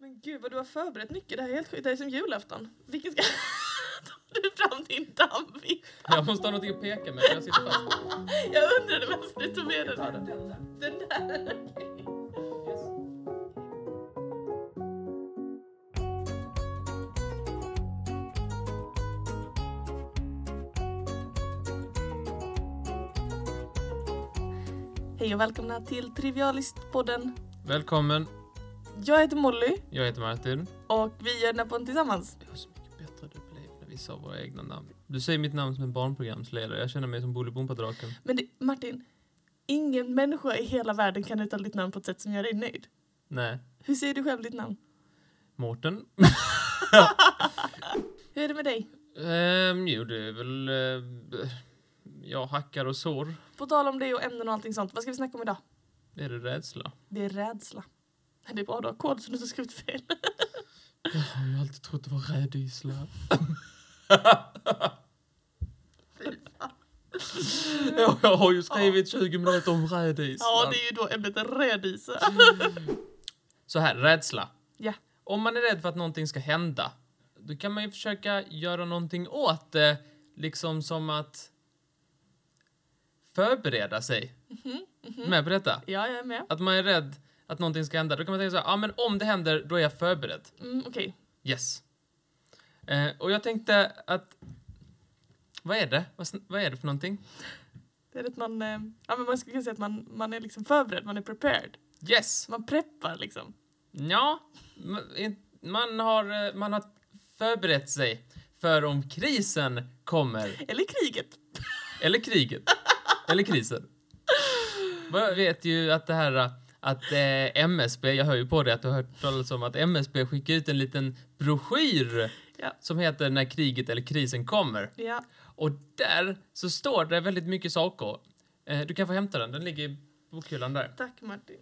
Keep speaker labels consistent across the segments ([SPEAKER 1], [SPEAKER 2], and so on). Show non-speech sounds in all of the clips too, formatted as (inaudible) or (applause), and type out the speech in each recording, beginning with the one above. [SPEAKER 1] Men gud vad du har förberett mycket, det här är helt sjukt. Det här är som julafton. Vilken ska... (laughs) Tar du fram din dammvipp?
[SPEAKER 2] Jag måste ha någonting att peka med för jag sitter fast.
[SPEAKER 1] Jag undrade varför du tog med den.
[SPEAKER 2] Ta den.
[SPEAKER 1] Den där, okej. Hej och välkomna till Trivialist-podden.
[SPEAKER 2] Välkommen,
[SPEAKER 1] Jag heter Molly
[SPEAKER 2] jag heter Martin.
[SPEAKER 1] och vi gör den här podden tillsammans.
[SPEAKER 2] Det var så mycket bättre det blev när vi sa våra egna namn. Du säger mitt namn som en barnprogramsledare, jag känner mig som Bolibompa-draken.
[SPEAKER 1] Men det, Martin, ingen människa i hela världen kan uttala ditt namn på ett sätt som gör dig nöjd.
[SPEAKER 2] Nej,
[SPEAKER 1] Hur säger du själv ditt namn?
[SPEAKER 2] Mårten.
[SPEAKER 1] Hur är det med dig?
[SPEAKER 2] Ehm, jo, det är väl... eh, jag hackar och sår.
[SPEAKER 1] På tal om det och ämnen och allting sånt, vad ska vi snacka om idag?
[SPEAKER 2] Är det rädsla?
[SPEAKER 1] Det är rädsla. Det är bara du har kod så du har skrivit fel.
[SPEAKER 2] Jag har ju alltid trott det var rädisla. (laughs) Ja, jag har ju skrivit 20 minuter om rädisla.
[SPEAKER 1] Ja, det är ju då ämnet rädisa.
[SPEAKER 2] Så här, rädsla.
[SPEAKER 1] Ja.
[SPEAKER 2] Om man är rädd för att någonting ska hända, då kan man ju försöka göra någonting åt det, liksom som att förbereda sig.
[SPEAKER 1] Mm.
[SPEAKER 2] Med på detta?
[SPEAKER 1] Mhm, Ja, jag är med.
[SPEAKER 2] Att man är rädd att någonting ska hända, då kan man tänka så här, ja ah, men om det händer, då är jag förberedd.
[SPEAKER 1] Mm, Okej.
[SPEAKER 2] Yes. Eh, och jag tänkte att, vad är det? Vad, sn- vad är det för någonting?
[SPEAKER 1] Det är att man, eh, ja, men man skulle kunna säga att man, man är liksom förberedd, man är prepared.
[SPEAKER 2] Yes!
[SPEAKER 1] Man preppar liksom.
[SPEAKER 2] Ja, m- in- man har, eh, man har förberett sig för om krisen kommer
[SPEAKER 1] Eller kriget.
[SPEAKER 2] Eller kriget. Eller krisen. Jag vet ju att det här att eh, MSB, jag hör ju på det att du har hört talas om att MSB skickar ut en liten broschyr
[SPEAKER 1] Ja.
[SPEAKER 2] som heter När kriget eller krisen kommer.
[SPEAKER 1] Ja.
[SPEAKER 2] Och där så står det väldigt mycket saker. Eh, du kan få hämta den, den ligger i bokhyllan där.
[SPEAKER 1] Tack Martin.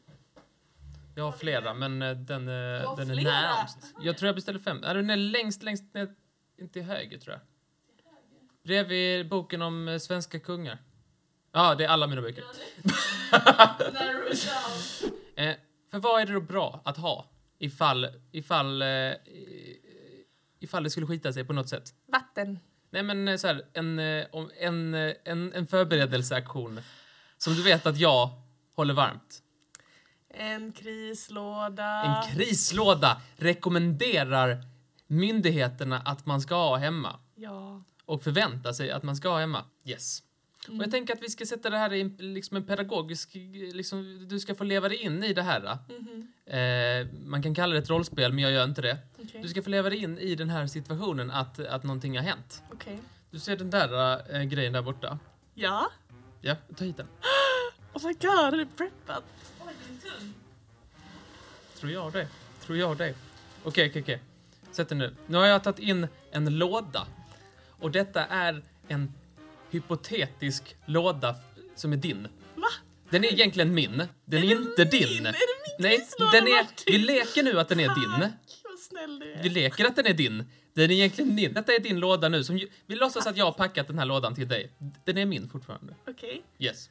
[SPEAKER 2] Jag har flera men eh, den, eh,
[SPEAKER 1] har
[SPEAKER 2] den är
[SPEAKER 1] flera?
[SPEAKER 2] närmst. Jag tror jag beställde fem. Nej, den är längst, längst ner, inte till höger tror jag. Bredvid boken om eh, svenska kungar. Ja, det är alla
[SPEAKER 1] (laughs)
[SPEAKER 2] mina böcker. Eh, för vad är det då bra att ha ifall, ifall, eh, i- ifall det skulle skita sig på något sätt?
[SPEAKER 1] Vatten.
[SPEAKER 2] Nej men eh, så här, en, eh, om- en, eh, en, en förberedelseaktion som du vet att jag håller varmt.
[SPEAKER 1] En krislåda.
[SPEAKER 2] En krislåda rekommenderar myndigheterna att man ska ha hemma
[SPEAKER 1] ja.
[SPEAKER 2] och förväntar sig att man ska ha hemma. Yes. Och
[SPEAKER 1] Mm.
[SPEAKER 2] jag tänker att vi ska sätta det här i en- liksom en pedagogisk, liksom, du ska få leva dig in i det här. eh.
[SPEAKER 1] Mhm.
[SPEAKER 2] Eh, man kan kalla det ett rollspel, men jag gör inte det.
[SPEAKER 1] Okej.
[SPEAKER 2] Du ska få leva dig in i den här situationen att, att någonting har hänt.
[SPEAKER 1] Okej.
[SPEAKER 2] Du ser den där eh, grejen där borta.
[SPEAKER 1] Ja.
[SPEAKER 2] Ja, ta hit den.
[SPEAKER 1] Oh my god, är det preppat? Oj, det är tunn.
[SPEAKER 2] Tror jag det. Tror jag det. Okej, okej, okej. Sätt den nu. Nu har jag tagit in en låda. Och detta är en hypotetisk låda f- som är din.
[SPEAKER 1] Va?
[SPEAKER 2] Den är egentligen min. Den är,
[SPEAKER 1] det
[SPEAKER 2] inte
[SPEAKER 1] min?
[SPEAKER 2] din.
[SPEAKER 1] Är det min
[SPEAKER 2] Nej,
[SPEAKER 1] krislåda,
[SPEAKER 2] den är...
[SPEAKER 1] Martin?
[SPEAKER 2] Vi leker nu att den är din.
[SPEAKER 1] Tack, vad snäll du
[SPEAKER 2] Vi
[SPEAKER 1] är.
[SPEAKER 2] leker att den är din. Den är egentligen din. Detta är din låda nu. Som, ju- vi låtsas att jag har packat den här lådan till dig. Den är min fortfarande.
[SPEAKER 1] Okej.
[SPEAKER 2] Yes.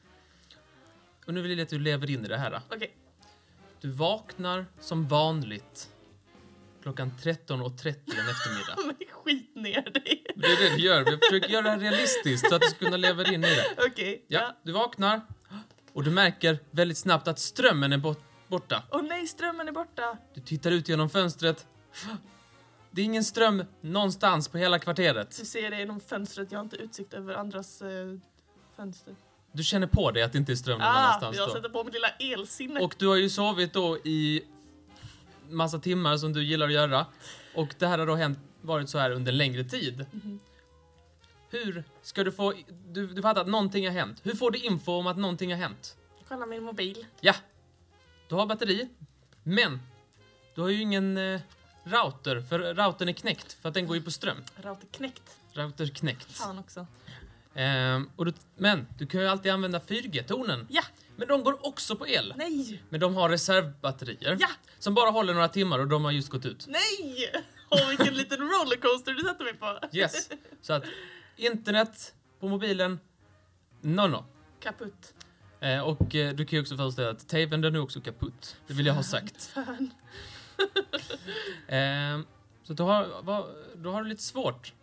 [SPEAKER 2] Och nu vill jag att du lever in i det här.
[SPEAKER 1] Okej.
[SPEAKER 2] Du vaknar som vanligt klockan 13.30 en eftermiddag.
[SPEAKER 1] Men skit ner dig. (laughs)
[SPEAKER 2] Det är det vi gör. Vi försöker göra det här realistiskt så att du ska kunna leva in i det.
[SPEAKER 1] Okej.
[SPEAKER 2] Ja, du vaknar och du märker väldigt snabbt att strömmen är bort, borta.
[SPEAKER 1] Åh nej, strömmen är borta.
[SPEAKER 2] Du tittar ut genom fönstret. Det är ingen ström någonstans på hela kvarteret.
[SPEAKER 1] Du ser det genom fönstret, jag har inte utsikt över andras eh, fönster.
[SPEAKER 2] Du känner på dig att det inte är ström någon
[SPEAKER 1] Ah,
[SPEAKER 2] annanstans
[SPEAKER 1] jag
[SPEAKER 2] då.
[SPEAKER 1] sätter på mitt lilla elsinne.
[SPEAKER 2] Och du har ju sovit då i massa timmar som du gillar att göra. Och det här har då hänt, varit så här under en längre tid. Hur ska du få... Du, du fattar att någonting har hänt. Hur får du info om att någonting har hänt?
[SPEAKER 1] Kolla min mobil.
[SPEAKER 2] Ja, du har batteri. Men du har ju ingen eh, router, för routern är knäckt. För att den går ju på ström.
[SPEAKER 1] Router knäckt.
[SPEAKER 2] Router knäckt.
[SPEAKER 1] Fan också.
[SPEAKER 2] Ehm, och du, men du kan ju alltid använda 4G-tornen.
[SPEAKER 1] Ja,
[SPEAKER 2] Men de går också på el.
[SPEAKER 1] nej,
[SPEAKER 2] Men de har reservbatterier.
[SPEAKER 1] Ja!
[SPEAKER 2] Som bara håller några timmar och de har just gått ut.
[SPEAKER 1] nej! Åh vilken liten rollercoaster du satte mig på.
[SPEAKER 2] Yes.
[SPEAKER 1] (laughs)
[SPEAKER 2] Så att internet på mobilen, no no.
[SPEAKER 1] Kaputt.
[SPEAKER 2] Eh, och eh, du kan ju också föreställa dig att tvn den är också kaputt. Det vill jag ha sagt.
[SPEAKER 1] Fan.
[SPEAKER 2] Ehm, så då har, vad, då har du lite svårt.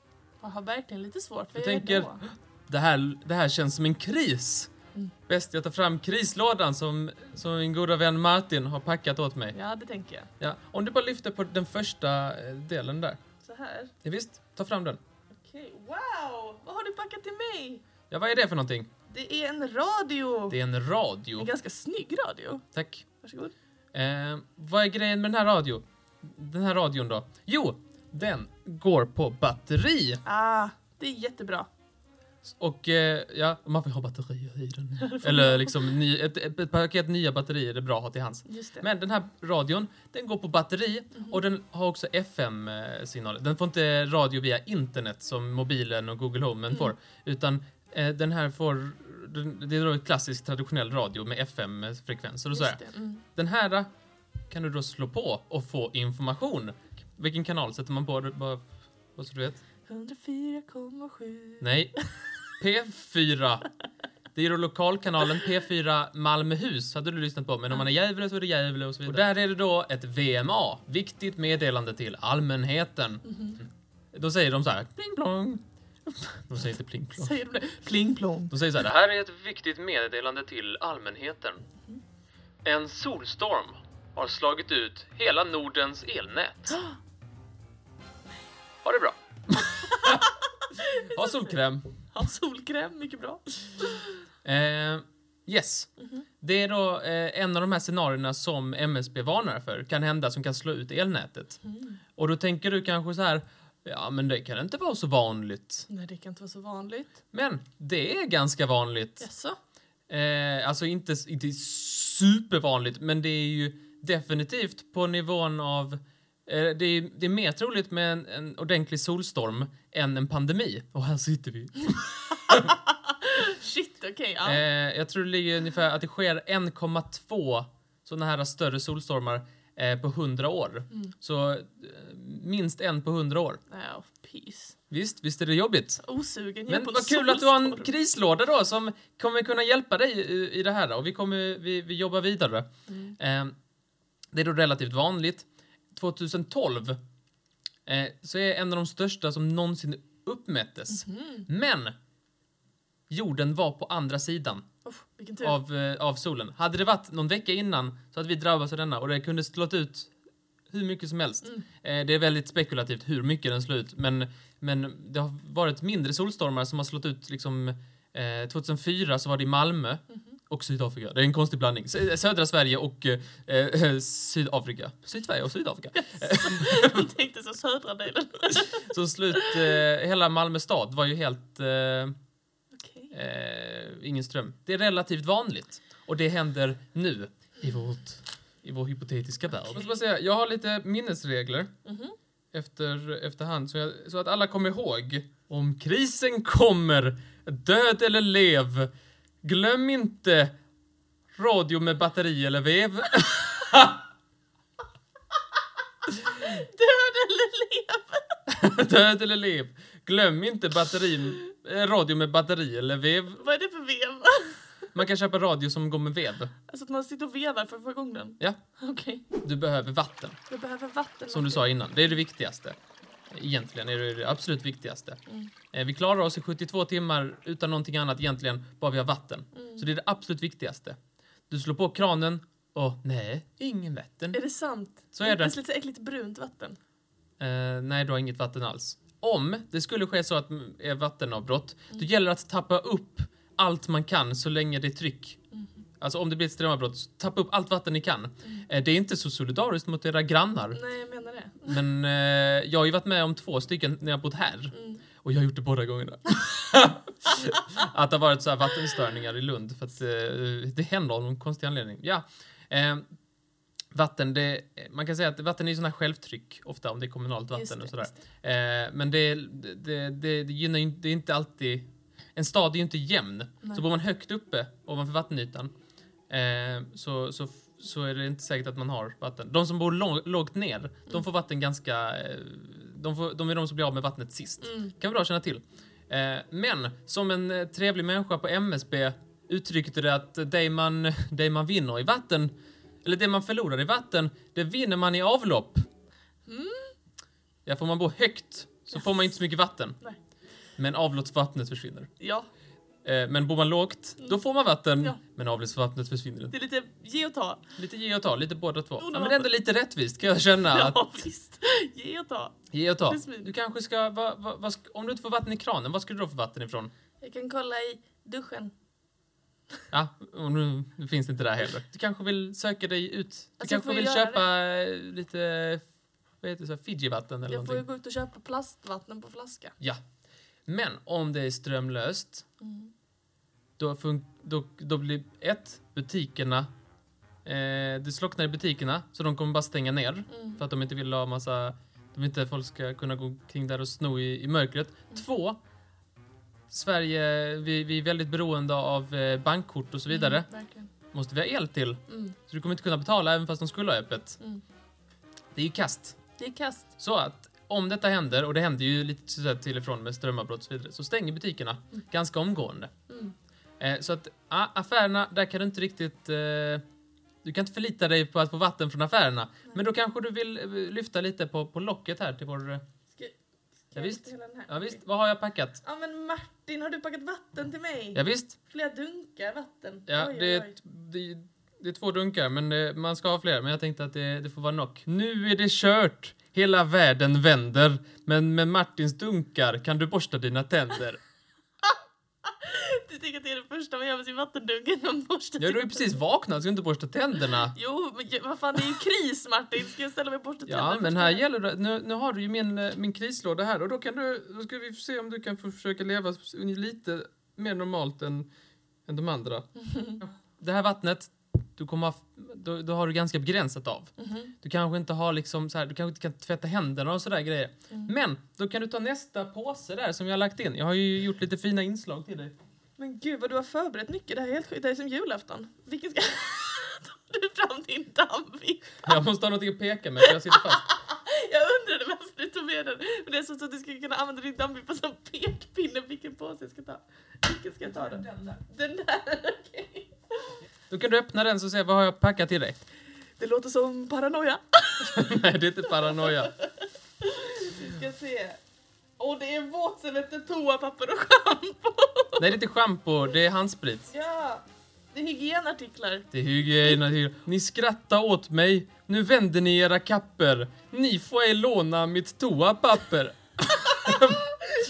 [SPEAKER 1] Jag har verkligen lite svårt. Vad
[SPEAKER 2] Jag
[SPEAKER 1] gör jag
[SPEAKER 2] tänker-
[SPEAKER 1] då?
[SPEAKER 2] Det här, det här känns som en kris.
[SPEAKER 1] Mm.
[SPEAKER 2] Bäst jag tar fram krislådan som, som min goda vän Martin har packat åt mig.
[SPEAKER 1] Ja, det tänker jag.
[SPEAKER 2] Ja, om du bara lyfter på den första eh, delen där.
[SPEAKER 1] Så här.
[SPEAKER 2] Ja, visst, ta fram den.
[SPEAKER 1] Okej, wow! Vad har du packat till mig?
[SPEAKER 2] Ja, vad är det för någonting?
[SPEAKER 1] Det är en radio!
[SPEAKER 2] Det är en radio.
[SPEAKER 1] En ganska snygg radio.
[SPEAKER 2] Tack.
[SPEAKER 1] Varsågod.
[SPEAKER 2] Eh, vad är grejen med den här radion? Den här radion då? Jo, den går på batteri.
[SPEAKER 1] Ah, det är jättebra.
[SPEAKER 2] Och eh, ja, man får ju ha batterier i den. Eller liksom ny, ett, ett, ett paket nya batterier är bra att ha till hands.
[SPEAKER 1] Just det.
[SPEAKER 2] Men den här radion, den går på batteri
[SPEAKER 1] Mhm.
[SPEAKER 2] och den har också FM-signaler. Den får inte radio via internet som mobilen och Google Home
[SPEAKER 1] Mm.
[SPEAKER 2] får. Utan eh, den här får, den, det är då ett klassiskt traditionell radio med FM-frekvenser och
[SPEAKER 1] Just
[SPEAKER 2] sådär.
[SPEAKER 1] det. Mm.
[SPEAKER 2] Den här eh, kan du då slå på och få information. Vilken kanal sätter man på? Det är Bara, vad så du vet?
[SPEAKER 1] 104,7.
[SPEAKER 2] Nej. P4. Det är då lokalkanalen P4 Malmöhus hade du lyssnat på, men om man är Gävle så är det Gävle och så vidare. Och där är det då ett VMA, viktigt meddelande till allmänheten.
[SPEAKER 1] Mhm.
[SPEAKER 2] Då säger de så här, pling plong. De säger inte pling plong.
[SPEAKER 1] Säger de det? Pling plong.
[SPEAKER 2] De säger så här, det här är ett viktigt meddelande till allmänheten. En solstorm har slagit ut hela Nordens elnät. Ha det bra. ha solkräm.
[SPEAKER 1] Ja, solkräm, mycket bra.
[SPEAKER 2] Eh, yes. Det är då eh, en av de här scenarierna som MSB varnar för kan hända som kan slå ut elnätet. Och då tänker du kanske så här, ja men det kan inte vara så vanligt.
[SPEAKER 1] Nej, det kan inte vara så vanligt.
[SPEAKER 2] Men det är ganska vanligt.
[SPEAKER 1] Jaså?
[SPEAKER 2] Eh, alltså inte, inte supervanligt, men det är ju definitivt på nivån av eh, det är, det är mer troligt med en, en ordentlig solstorm än en pandemi. Och här sitter vi.
[SPEAKER 1] Shit, okej. ja.
[SPEAKER 2] Eh, jag tror det ligger ungefär att det sker 1,2 sådana här större solstormar eh, på 100 år.
[SPEAKER 1] Mm.
[SPEAKER 2] Så eh, minst en på 100 år.
[SPEAKER 1] Nej, oh, peace.
[SPEAKER 2] Visst, visst är det jobbigt?
[SPEAKER 1] Osugen jag
[SPEAKER 2] Men
[SPEAKER 1] på
[SPEAKER 2] vad
[SPEAKER 1] någon
[SPEAKER 2] kul att du har en
[SPEAKER 1] solstorm.
[SPEAKER 2] krislåda då som kommer kunna hjälpa dig i, i det här då. och vi kommer, vi, vi jobbar vidare.
[SPEAKER 1] Mm.
[SPEAKER 2] Eh, det är då relativt vanligt. 2012 eh, så är en av de största som någonsin uppmättes.
[SPEAKER 1] Mhm. Mm.
[SPEAKER 2] Men jorden var på andra sidan
[SPEAKER 1] Oh, vilken tur.
[SPEAKER 2] av, eh, av solen. Hade det varit någon vecka innan så hade vi drabbats av denna och det kunde slått ut hur mycket som helst.
[SPEAKER 1] Mm.
[SPEAKER 2] Eh, det är väldigt spekulativt hur mycket den slår ut, men, men det har varit mindre solstormar som har slått ut liksom eh, 2004 så var det i Malmö
[SPEAKER 1] Mhm.
[SPEAKER 2] och Sydafrika. Det är en konstig blandning. Sö- Södra Sverige och eh, eh, Sydafrika. Sydsverige och Sydafrika.
[SPEAKER 1] Jag tänkte så södra delen.
[SPEAKER 2] Så slut, eh, hela Malmö stad var ju helt eh,
[SPEAKER 1] Okej.
[SPEAKER 2] Eh, ingen ström. Det är relativt vanligt. Och det händer nu i, vårt, i vår hypotetiska värld. Jag, måste bara säga, jag har lite minnesregler
[SPEAKER 1] Mhm.
[SPEAKER 2] efter, efterhand så, jag, så att alla kommer ihåg. Om krisen kommer, död eller lev, glöm inte radio med batteri eller vev.
[SPEAKER 1] Död eller lev?
[SPEAKER 2] död eller lev, glöm inte batterin, eh, radio med batteri eller vev.
[SPEAKER 1] Vad är det för vev?
[SPEAKER 2] Man kan köpa radio som går med vev.
[SPEAKER 1] Alltså att man sitter och vevar för att få igång den?
[SPEAKER 2] Ja,
[SPEAKER 1] Okej.
[SPEAKER 2] du behöver vatten.
[SPEAKER 1] Jag behöver vatten.
[SPEAKER 2] Som du sa innan, det är det viktigaste. Egentligen är det det absolut viktigaste. Eh, Vi klarar oss i 72 timmar utan någonting annat egentligen, bara vi har vatten.
[SPEAKER 1] Mm.
[SPEAKER 2] Så det är det absolut viktigaste. Du slår på kranen och nej, ingen vatten.
[SPEAKER 1] Är det sant?
[SPEAKER 2] Så är det.
[SPEAKER 1] Det är lite äckligt brunt vatten.
[SPEAKER 2] Eh, nej, du har inget vatten alls. Om det skulle ske så att mm, är vattenavbrott,
[SPEAKER 1] Mm.
[SPEAKER 2] då gäller det att tappa upp allt man kan så länge det är tryck.
[SPEAKER 1] Mm.
[SPEAKER 2] Alltså om det blir ett strömavbrott, så tappa upp allt vatten ni kan. Eh, det är inte så solidariskt mot era grannar.
[SPEAKER 1] Nej, jag menar det.
[SPEAKER 2] Men eh, jag har ju varit med om två stycken när jag bott här.
[SPEAKER 1] Mm.
[SPEAKER 2] Och jag har gjort det båda gångerna.
[SPEAKER 1] (laughs)
[SPEAKER 2] att det har varit så här vattenstörningar i Lund. För att eh, det händer av någon konstig anledning. Ja. Eh, vatten, det, man kan säga att vatten är ju sådana här självtryck ofta om det är
[SPEAKER 1] Just
[SPEAKER 2] kommunalt vatten
[SPEAKER 1] det,
[SPEAKER 2] och sådär.
[SPEAKER 1] just
[SPEAKER 2] Eh, men det, det, det, det gynnar ju inte- det är inte alltid... En stad är ju inte jämn.
[SPEAKER 1] Nej.
[SPEAKER 2] Så bor man högt uppe ovanför vattenytan eh, så, så, så är det inte säkert att man har vatten. De som bor lång, lågt ner,
[SPEAKER 1] Mm.
[SPEAKER 2] de får vatten ganska... eh, De, får, de är de som blir av med vattnet sist.
[SPEAKER 1] Mm.
[SPEAKER 2] Kan vara bra att känna till. Eh, men som en eh, trevlig människa på MSB uttryckte det att det man, det man
[SPEAKER 1] Mm.
[SPEAKER 2] vinner i vatten, eller det man förlorar i vatten, det vinner man i avlopp. Ja, får man bo högt så får man inte så mycket vatten.
[SPEAKER 1] Nej.
[SPEAKER 2] Men avloppsvattnet försvinner.
[SPEAKER 1] Ja,
[SPEAKER 2] Eh, men bor man lågt, då får man vatten.
[SPEAKER 1] Ja.
[SPEAKER 2] Men avloppsvattnet försvinner inte.
[SPEAKER 1] det är lite ge och ta.
[SPEAKER 2] Lite ge och ta, lite båda två. Ja,
[SPEAKER 1] Underbart.
[SPEAKER 2] men ändå lite rättvist kan jag känna.
[SPEAKER 1] (laughs) Ja,
[SPEAKER 2] Att
[SPEAKER 1] visst. Ge och ta.
[SPEAKER 2] ge och ta.
[SPEAKER 1] Precis.
[SPEAKER 2] Du kanske ska, va, va, vad sk- om du inte får vatten i kranen, vad ska du då få vatten ifrån?
[SPEAKER 1] Jag kan kolla i duschen.
[SPEAKER 2] Ja, och nu nu finns det inte där heller. Du kanske vill söka dig ut. Du
[SPEAKER 1] Alltså, jag
[SPEAKER 2] kanske
[SPEAKER 1] får ju
[SPEAKER 2] vill
[SPEAKER 1] göra
[SPEAKER 2] köpa eh, lite, vad heter det, så här, Fiji-vatten eller
[SPEAKER 1] Jag får ju
[SPEAKER 2] någonting.
[SPEAKER 1] gå ut och köpa plastvatten på flaska.
[SPEAKER 2] Ja. Men om det är strömlöst,
[SPEAKER 1] Mm.
[SPEAKER 2] då, fun- då, då blir ett, butikerna, eh, det slocknar i butikerna så de kommer bara stänga ner
[SPEAKER 1] Mm.
[SPEAKER 2] för att de inte vill ha massa, de vill inte att folk ska kunna gå kring där och sno i, i mörkret. Två, Sverige, vi, vi är väldigt beroende av eh, bankkort och så vidare.
[SPEAKER 1] Mm, verkligen.
[SPEAKER 2] Måste vi ha el till?
[SPEAKER 1] Mm.
[SPEAKER 2] Så du kommer inte kunna betala även fast de skulle ha öppet.
[SPEAKER 1] Mm.
[SPEAKER 2] Det är ju kast.
[SPEAKER 1] Det är kast.
[SPEAKER 2] Så att om detta händer, och det händer ju lite sådär till och från med strömavbrott och så vidare, så stänger butikerna ganska omgående.
[SPEAKER 1] Mm.
[SPEAKER 2] Eh, så att a- affärerna, där kan du inte riktigt... Eh, du kan inte förlita dig på att få vatten från affärerna. Men då kanske du vill eh, lyfta lite på, på locket här till vår... eh,
[SPEAKER 1] Ska, ska jag
[SPEAKER 2] Ja, visst.
[SPEAKER 1] lyfta hela den här?
[SPEAKER 2] Ja, visst, vad har jag packat?
[SPEAKER 1] Ja men Martin, har du packat vatten till mig?
[SPEAKER 2] Ja, visst,
[SPEAKER 1] Flera dunkar vatten.
[SPEAKER 2] ja,
[SPEAKER 1] Oj, oj,
[SPEAKER 2] det, är,
[SPEAKER 1] oj.
[SPEAKER 2] det, det är två dunkar, men eh, man ska ha fler. Men jag tänkte att det, det får vara nog. Nu är det kört! Hela världen vänder. Men med Martins dunkar kan du borsta dina tänder.
[SPEAKER 1] Du tänker att det är det första man gör med sin vattendunk innan man borstar
[SPEAKER 2] Ja, du har ju
[SPEAKER 1] sin-
[SPEAKER 2] precis vaknat, ska inte borsta tänderna.
[SPEAKER 1] Jo, men ju- vad fan det är ju kris Martin. Ska jag ställa mig och borsta
[SPEAKER 2] Ja, men här gäller det. Nu, nu har du ju min, eh, min krislåda här och då kan du, då ska vi se om du kan få försöka leva s- lite mer normalt än, än
[SPEAKER 1] (laughs)
[SPEAKER 2] de andra. Det här vattnet, du kommer ha, f- då, då har du ganska begränsat av.
[SPEAKER 1] Mhm.
[SPEAKER 2] Du kanske inte har liksom så här, du kanske inte kan tvätta händerna och sådär grejer. Men då kan du ta nästa påse där som jag har lagt in. Jag har ju gjort lite fina inslag till dig.
[SPEAKER 1] Men gud vad du har förberett mycket. Det här är helt sjukt. Det här är som julafton. Vilken ska... (laughs) Tar du fram din dammvipp?
[SPEAKER 2] Jag måste ha någonting att peka med för jag sitter fast.
[SPEAKER 1] Jag undrade varför du tog med den. Men det är som så att du skulle kunna använda din dammvippa som pekpinne. Vilken påse jag ska ta. Vilken ska jag ta då? Den där. Den där, (laughs) okej.
[SPEAKER 2] Då kan du öppna den så ser jag vad har jag packat till dig. (laughs)
[SPEAKER 1] Det låter som paranoia.
[SPEAKER 2] Nej, det är inte paranoia.
[SPEAKER 1] Vi ska se. Och det är våtservetter, toapapper och schampo.
[SPEAKER 2] Nej, det är inte schampo, det är handsprit.
[SPEAKER 1] Ja. Det är hygienartiklar.
[SPEAKER 2] Det är hygien. och hygien. Ni skrattar åt mig. Nu vänder ni era kapper. Ni får ej låna mitt toapapper.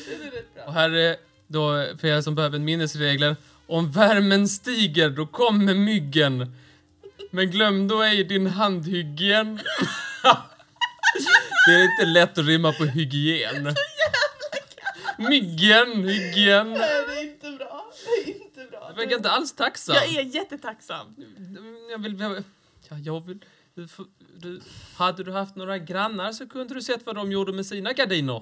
[SPEAKER 1] Det är rätt bra.
[SPEAKER 2] Och här är då, för er som behöver minnesregler. Om värmen stiger, då kommer myggen. Men glöm då ej din handhygien. (laughs) Det är inte lätt att rimma
[SPEAKER 1] (laughs)
[SPEAKER 2] på hygien. Myggen, hygien.
[SPEAKER 1] Nej, det är inte bra. Det är inte bra.
[SPEAKER 2] Jag verkar inte alls tacksam.
[SPEAKER 1] Jag är jättetacksam.
[SPEAKER 2] Jag vill... Jag, ja, jag vill du, får- du, hade du haft några grannar så kunde du sett vad de gjorde med
[SPEAKER 1] (laughs)
[SPEAKER 2] sina gardiner.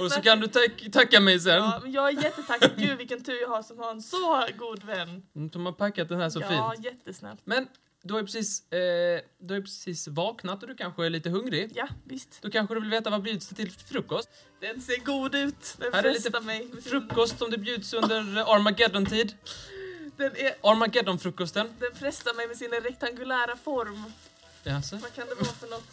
[SPEAKER 2] Och så kan du tack, tacka mig sen.
[SPEAKER 1] Ja, men jag är jättetacksam. Gud vilken tur jag har som har en så god vän.
[SPEAKER 2] Mm, De har packat den här så
[SPEAKER 1] ja,
[SPEAKER 2] fint.
[SPEAKER 1] jättesnällt.
[SPEAKER 2] Men du har ju precis, eh, du har ju precis vaknat och du kanske är lite hungrig.
[SPEAKER 1] Ja, visst.
[SPEAKER 2] Då kanske du vill veta vad bjuds det till för frukost?
[SPEAKER 1] Den ser god ut. Den
[SPEAKER 2] Här är lite
[SPEAKER 1] frestar mig.
[SPEAKER 2] Frukost som det bjuds under eh, Armageddon-tid.
[SPEAKER 1] Den, är,
[SPEAKER 2] Armageddon-frukosten.
[SPEAKER 1] den frestar mig med sin rektangulära form.
[SPEAKER 2] Jaså?
[SPEAKER 1] Vad kan det vara för något?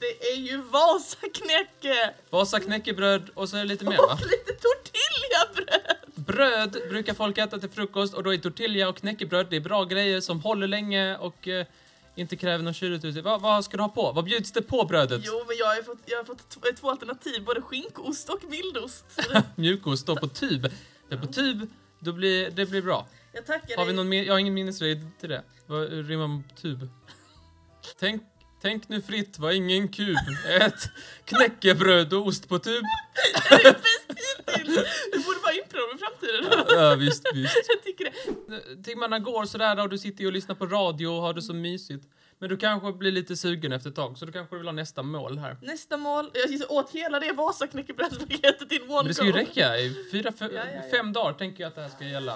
[SPEAKER 1] Det är ju Vasaknäcke!
[SPEAKER 2] Vasa knäckebröd och så är det lite mer va?
[SPEAKER 1] Och lite tortillabröd!
[SPEAKER 2] Bröd brukar folk äta till frukost och då är tortilla och knäckebröd det är bra grejer som håller länge och eh, inte kräver någon kylutrustning. Vad, vad ska du ha på? Vad bjuds det på brödet?
[SPEAKER 1] Jo, men jag har ju fått, jag har fått t- två alternativ, både skinkost och
[SPEAKER 2] (laughs)
[SPEAKER 1] mildost. Så det-
[SPEAKER 2] Mjukost står på tub. Det är på tub, då blir, det blir bra.
[SPEAKER 1] Jag tackar
[SPEAKER 2] Har vi
[SPEAKER 1] dig. (laughs)
[SPEAKER 2] någon mer? Jag har ingen minnesregel till det. Vad hur rimmar man på tub? Tänk, tänk nu fritt, var ingen kub. Ät knäckebröd och ost på tub.
[SPEAKER 1] Det är bäst hittills! Du borde vara improv i framtiden. (laughs)
[SPEAKER 2] Ja, visst, visst.
[SPEAKER 1] Jag tycker det.
[SPEAKER 2] timmarna går sådär och du sitter ju och lyssnar på radio och har det så mysigt. Men du kanske blir lite sugen efter ett tag så du kanske vill ha nästa mål här.
[SPEAKER 1] Nästa mål, jag gissar åt hela det Vasaknäckebrödspaketet in one
[SPEAKER 2] Men det ska ju
[SPEAKER 1] go.
[SPEAKER 2] räcka i fyra, fem,
[SPEAKER 1] Ja, ja, ja.
[SPEAKER 2] fem dagar tänker jag att det här ska gälla.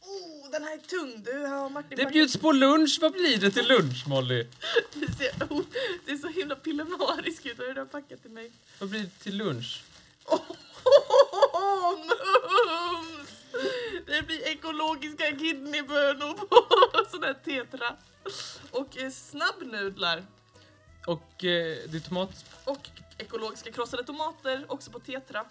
[SPEAKER 1] Oh, den här är tung du, här har Martin
[SPEAKER 2] Det
[SPEAKER 1] packat-
[SPEAKER 2] bjuds på lunch, vad blir det till lunch Molly?
[SPEAKER 1] det, ser, oh, det är så himla pillemariskt ut, vad är det du har packat till mig?
[SPEAKER 2] Vad blir det till lunch?
[SPEAKER 1] Åh, mums! Det blir ekologiska kidneybönor på (laughs) sån här tetra. Och eh, snabbnudlar.
[SPEAKER 2] Och eh, det är tomat...
[SPEAKER 1] Och eh, ekologiska krossade tomater, också på Tetra.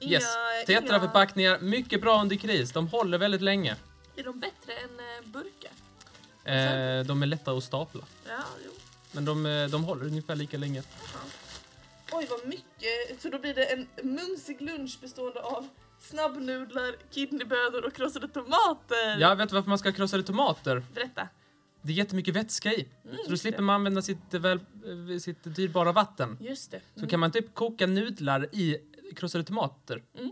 [SPEAKER 2] Yes. Tetraförpackningar, mycket bra under kris. De håller väldigt länge.
[SPEAKER 1] Är de bättre än eh, burkar?
[SPEAKER 2] Eh, de är lätta att stapla.
[SPEAKER 1] Ja, jo.
[SPEAKER 2] Men de, eh, de håller ungefär lika länge.
[SPEAKER 1] Jaha. Oj, vad mycket. Så då blir det en mumsig lunch bestående av snabbnudlar, kidneybönor och krossade tomater.
[SPEAKER 2] Jag vet du varför man ska ha krossade tomater.
[SPEAKER 1] Berätta.
[SPEAKER 2] Det är jättemycket vätska i.
[SPEAKER 1] Mm,
[SPEAKER 2] Så då
[SPEAKER 1] just
[SPEAKER 2] slipper
[SPEAKER 1] det.
[SPEAKER 2] man använda sitt, eh, väl, eh, sitt dyrbara vatten.
[SPEAKER 1] Just det.
[SPEAKER 2] Så kan man typ koka nudlar i krossade tomater.
[SPEAKER 1] Mm.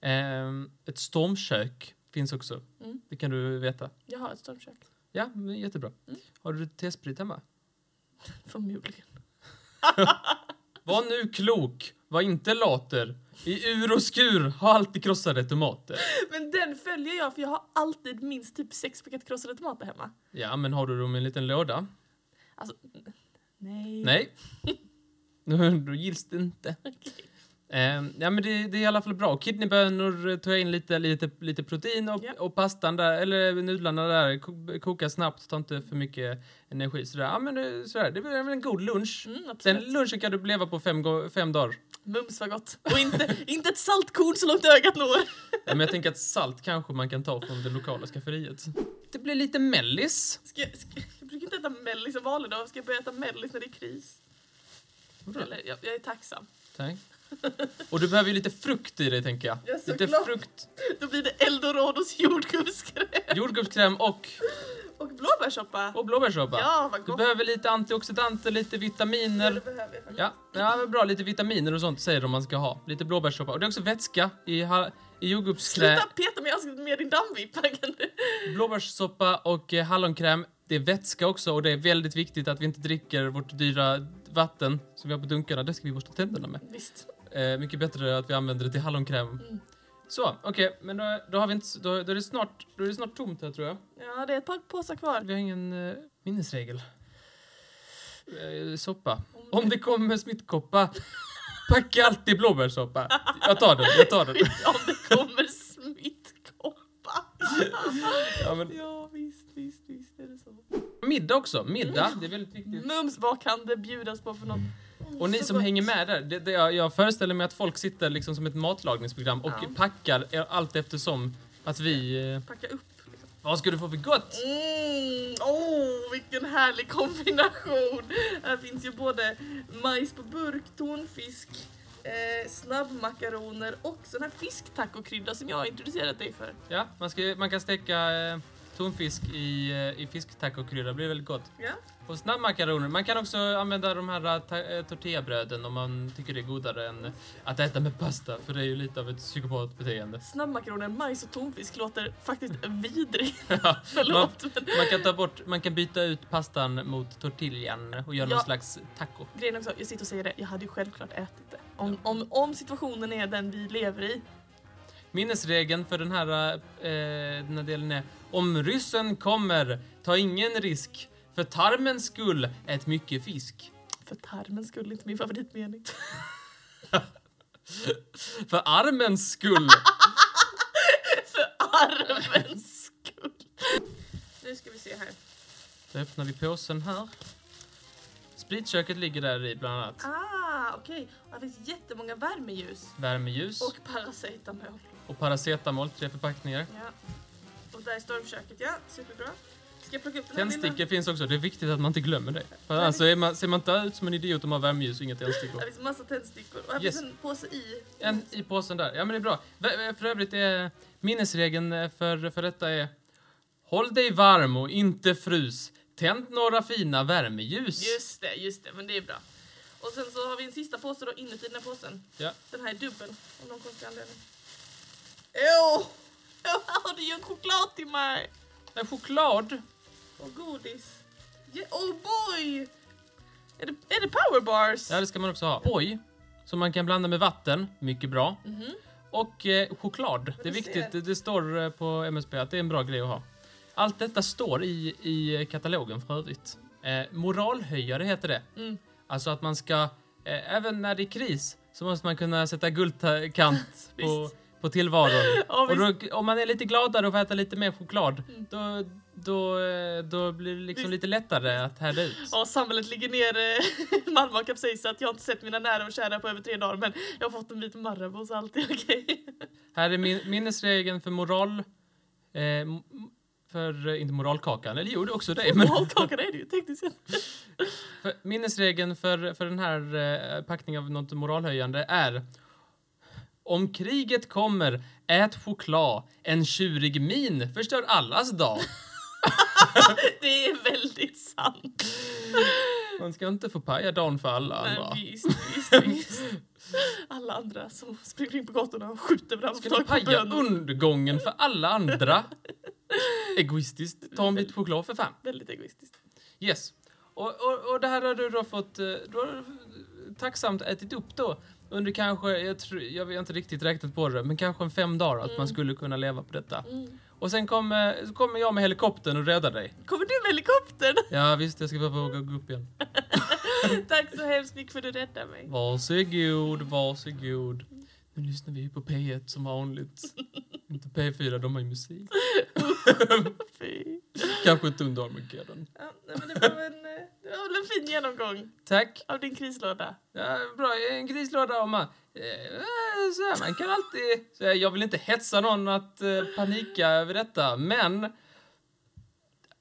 [SPEAKER 2] Ehm, ett stormkök finns också.
[SPEAKER 1] Mm.
[SPEAKER 2] Det kan du veta.
[SPEAKER 1] Jag har ett stormkök.
[SPEAKER 2] Ja, men jättebra.
[SPEAKER 1] Mm.
[SPEAKER 2] Har du tesprit hemma?
[SPEAKER 1] Förmodligen.
[SPEAKER 2] Var nu klok, var inte later. I ur och skur, ha alltid krossade tomater.
[SPEAKER 1] Men den följer jag för jag har alltid minst typ sex paket krossade tomater hemma.
[SPEAKER 2] Ja, men har du dem i en liten låda?
[SPEAKER 1] Alltså, nej.
[SPEAKER 2] Nej. (laughs) Nu- Då gills det inte. Ehm, ja, men det, det är i alla fall bra. Kidneybönor eh, tar jag in lite, lite, lite protein och,
[SPEAKER 1] Ja.
[SPEAKER 2] och pastan där, eller nudlarna där, ko- kokar snabbt, tar inte för mycket energi. Sådär. Ja, men det, sådär. det blir väl en god lunch.
[SPEAKER 1] Mm,
[SPEAKER 2] Den
[SPEAKER 1] absolut.
[SPEAKER 2] lunchen kan du leva på fem, go- fem dagar.
[SPEAKER 1] Mums var gott. Och inte, inte ett saltkorn så långt ögat når.
[SPEAKER 2] Ja, men jag tänker att salt kanske man kan ta från det lokala skafferiet. Det blir lite mellis.
[SPEAKER 1] Ska, jag- ska, jag brukar inte äta mellis av valen då. Ska jag börja äta mellis när det är kris? Eller, jag, jag är tacksam.
[SPEAKER 2] Tack. Och du behöver ju lite frukt i dig, tänker jag.
[SPEAKER 1] Jag är så
[SPEAKER 2] lite
[SPEAKER 1] glad.
[SPEAKER 2] frukt,
[SPEAKER 1] Då blir det eldorados jordgubbskräm
[SPEAKER 2] jordgubbskräm och,
[SPEAKER 1] och blåbärssoppa.
[SPEAKER 2] och blåbärssoppa.
[SPEAKER 1] Ja, vad
[SPEAKER 2] Du
[SPEAKER 1] gott.
[SPEAKER 2] behöver lite antioxidanter, lite
[SPEAKER 1] Ja, det
[SPEAKER 2] vitaminer.
[SPEAKER 1] behöver jag faktiskt.
[SPEAKER 2] Ja, ja men bra. Lite vitaminer och sånt säger de man ska ha. Lite blåbärssoppa. Och det är också vätska i, ha- i jordgubbskrä,
[SPEAKER 1] Sluta peta mig i ansiktet med din dammvippa. kan du?
[SPEAKER 2] blåbärssoppa och eh, hallonkräm. Det är vätska också och det är väldigt viktigt att vi inte dricker vårt dyra vatten som vi har på dunkarna. Det ska vi borsta tänderna med.
[SPEAKER 1] Visst.
[SPEAKER 2] Eh, mycket bättre att vi använder det till hallonkräm.
[SPEAKER 1] Mm.
[SPEAKER 2] Så, okej, men då, då har vi inte... s- Då, då, är det snart, då är det snart tomt här tror jag.
[SPEAKER 1] Ja, det är ett par påsar
[SPEAKER 2] (laughs)
[SPEAKER 1] kvar.
[SPEAKER 2] Vi har ingen eh, minnesregel. Eh, soppa.
[SPEAKER 1] Om
[SPEAKER 2] Om det kommer smittkoppa, packa alltid blåbärssoppa. Jag tar den, jag tar den.
[SPEAKER 1] Skit om det kommer smittkoppa.
[SPEAKER 2] Ja, men,
[SPEAKER 1] Ja, visst, visst, visst är det så.
[SPEAKER 2] middag också, middag. Det är väldigt viktigt.
[SPEAKER 1] Mums, vad kan det bjudas på för något?
[SPEAKER 2] Och ni
[SPEAKER 1] Mm. Så
[SPEAKER 2] som
[SPEAKER 1] gott.
[SPEAKER 2] hänger med där, det, det, jag, jag föreställer mig att folk sitter liksom som ett matlagningsprogram och
[SPEAKER 1] Ja.
[SPEAKER 2] packar er allt eftersom att vi... Eh,
[SPEAKER 1] Packa upp. liksom.
[SPEAKER 2] vad ska du få för gott?
[SPEAKER 1] Mm, oh, vilken härlig kombination! Här finns ju både majs på burk, tonfisk, eh, snabbmakaroner och sån här fisktacokrydda som jag har introducerat dig för.
[SPEAKER 2] Ja, man, ska, man kan steka eh, tonfisk i, eh, i fisktacokrydda, det blir väldigt gott.
[SPEAKER 1] Ja,
[SPEAKER 2] Och snabbmakaroner. Man kan också använda de här ta- eh, tortillabröden om man tycker det är godare än att äta med pasta. För det är ju llite av ett psykopatbeteende.
[SPEAKER 1] snabbmakaroner, majs och tonfisk låter
[SPEAKER 2] (laughs)
[SPEAKER 1] faktiskt vidrigt. (laughs) Förlåt, men
[SPEAKER 2] Man kan ta bort, man kan byta ut pastan mot tortillan och göra
[SPEAKER 1] Ja.
[SPEAKER 2] någon slags taco.
[SPEAKER 1] grejen är också, jag sitter och säger det, jag hade ju självklart ätit det. Om, om, om situationen är den vi lever i.
[SPEAKER 2] Minnesregeln för den här, eh, den här delen är om ryssen kommer, ta ingen risk. För tarmens skull, ät mycket fisk.
[SPEAKER 1] För tarmen skulle inte min favoritmening.
[SPEAKER 2] För armens skull,
[SPEAKER 1] För armens skull. Nu ska vi se här.
[SPEAKER 2] då öppnar vi påsen här. Spritköket ligger där i bland annat.
[SPEAKER 1] Ah, okej. Det finns jättemånga värmeljus.
[SPEAKER 2] Värmeljus.
[SPEAKER 1] Och paracetamol.
[SPEAKER 2] och paracetamol, tre förpackningar.
[SPEAKER 1] Ja. Och där är stormköket, ja. Superbra. Ska jag plocka upp den här lilla?
[SPEAKER 2] Tändstickor finns också, det är viktigt att man inte glömmer det. För annars så är man, ser man inte ut som en idiot om man har värmeljus och inga
[SPEAKER 1] Det
[SPEAKER 2] tändstickor.
[SPEAKER 1] finns massa tändstickor. Och här
[SPEAKER 2] Yes.
[SPEAKER 1] finns en påse i.
[SPEAKER 2] En i påsen där, ja men det är bra. Vä- För övrigt är minnesregeln eh, för, för detta är Håll dig varm och inte frus. Tänd några fina värmeljus.
[SPEAKER 1] Just det, just det. Men det är bra. Och sen så har vi en sista påse då inuti den här påsen.
[SPEAKER 2] Ja.
[SPEAKER 1] Den här är dubbel av någon konstig anledning. (laughs) Åh! Åh, du gör choklad till mig!
[SPEAKER 2] Nej, choklad.
[SPEAKER 1] Och godis. Ja, oh boy! Är det, är det powerbars?
[SPEAKER 2] Ja, det ska man också ha. Oj, som man kan blanda med vatten. Mycket bra.
[SPEAKER 1] Mhm.
[SPEAKER 2] Och eh, choklad. Det är
[SPEAKER 1] du
[SPEAKER 2] viktigt.
[SPEAKER 1] ser.
[SPEAKER 2] Det, det står eh, på MSB att det är en bra grej att ha. Allt detta står i, i katalogen för övrigt. Eh, moralhöjare heter det.
[SPEAKER 1] Mm.
[SPEAKER 2] Alltså att man ska, eh, även när det är kris, så måste man kunna sätta guldkant
[SPEAKER 1] (laughs)
[SPEAKER 2] på,
[SPEAKER 1] Visst.
[SPEAKER 2] på tillvaron.
[SPEAKER 1] (laughs) Ja, Mm.
[SPEAKER 2] och då, om man är lite gladare och får äta lite mer choklad, då, då, eh, då blir det liksom lite lättare att härda ut.
[SPEAKER 1] Ja, samhället ligger ner eh, (laughs) Malmö och kapsejsat. Jag har inte sett mina nära och kära på över tre dagar men jag har fått en bit Marabou så allt är okej.
[SPEAKER 2] Här är min, minnesregeln för moral... Eh, m- för, eh, inte moralkakan, eller jo det är också det. Men
[SPEAKER 1] Moralkakan är det ju tekniskt sett.
[SPEAKER 2] för, minnesregeln för, för den här eh, packningen av något moralhöjande är om kriget kommer, ät choklad. En tjurig min förstör allas dag.
[SPEAKER 1] Det är väldigt sant.
[SPEAKER 2] Man ska inte förpaja dagen för alla
[SPEAKER 1] Men
[SPEAKER 2] andra.
[SPEAKER 1] visst, visst, visst. Alla andra som springer in på gatorna och skjuter varandra
[SPEAKER 2] Ska
[SPEAKER 1] får
[SPEAKER 2] ni
[SPEAKER 1] tag på
[SPEAKER 2] paja
[SPEAKER 1] bönor.
[SPEAKER 2] undergången för alla andra? Egoistiskt. Ta en bit choklad för fan.
[SPEAKER 1] Väldigt egoistiskt.
[SPEAKER 2] Yes. Och, och, och det här har du då fått eh, du har tacksamt ätit upp då under kanske, jag, tror, jag har inte riktigt räknat på det, men kanske en fem dagar att man skulle kunna leva på detta.
[SPEAKER 1] Mm.
[SPEAKER 2] Och sen kommer så kommer jag med helikoptern och räddar dig.
[SPEAKER 1] Kommer du med helikoptern?
[SPEAKER 2] Ja visst, jag ska behöva våga gå upp igen.
[SPEAKER 1] (laughs) Tack så hemskt mycket för att du räddade mig.
[SPEAKER 2] Varsågod, varsågod. Nu lyssnar vi på P1 som vanligt. Inte P4, de har ju musik.
[SPEAKER 1] Fy.
[SPEAKER 2] Kanske ett under Armageddon.
[SPEAKER 1] Ja, nej, men det, var väl en, eh, det var väl en fin genomgång
[SPEAKER 2] Tack.
[SPEAKER 1] av din krislåda.
[SPEAKER 2] Ja, bra, en krislåda om man... eh, Så här, man kan alltid... Så här, jag vill inte hetsa någon att eh, panika över detta, men...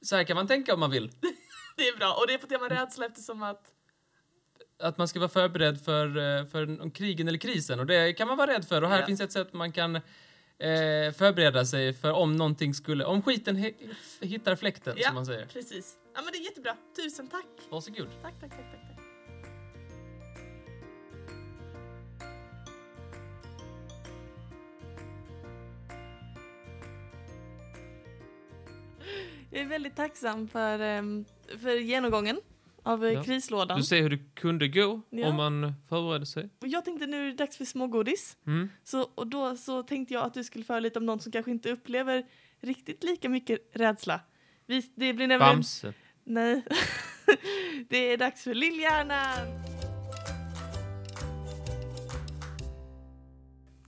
[SPEAKER 2] Så här kan man tänka om man vill.
[SPEAKER 1] Det är bra och det är på tema rädsla eftersom att
[SPEAKER 2] Att man ska vara förberedd för, eh, för en- krigen eller krisen, och det kan man vara rädd för. Och här
[SPEAKER 1] Ja.
[SPEAKER 2] finns ett sätt man kan eh, förbereda sig för om någonting skulle... Om skiten he- hittar fläkten,
[SPEAKER 1] Ja.
[SPEAKER 2] som man säger.
[SPEAKER 1] Precis. Ja men det är jättebra. Tusen tack.
[SPEAKER 2] Varsågod.
[SPEAKER 1] Tack, tack, tack, tack. tack. Jag är väldigt tacksam för, ehm, för genomgången av eh,
[SPEAKER 2] Ja.
[SPEAKER 1] krislådan.
[SPEAKER 2] ser hur det kunde gå
[SPEAKER 1] Ja. om
[SPEAKER 2] man förbereder sig. Mm.
[SPEAKER 1] Och Jag tänkte nu är det dags för smågodis. Så, och då så tänkte jag att du skulle föra lite om någon som kanske inte upplever riktigt lika mycket rädsla. Vi, det blir nämligen...
[SPEAKER 2] Bamse.
[SPEAKER 1] Nej. (laughs) det är dags för Lillhjärnan!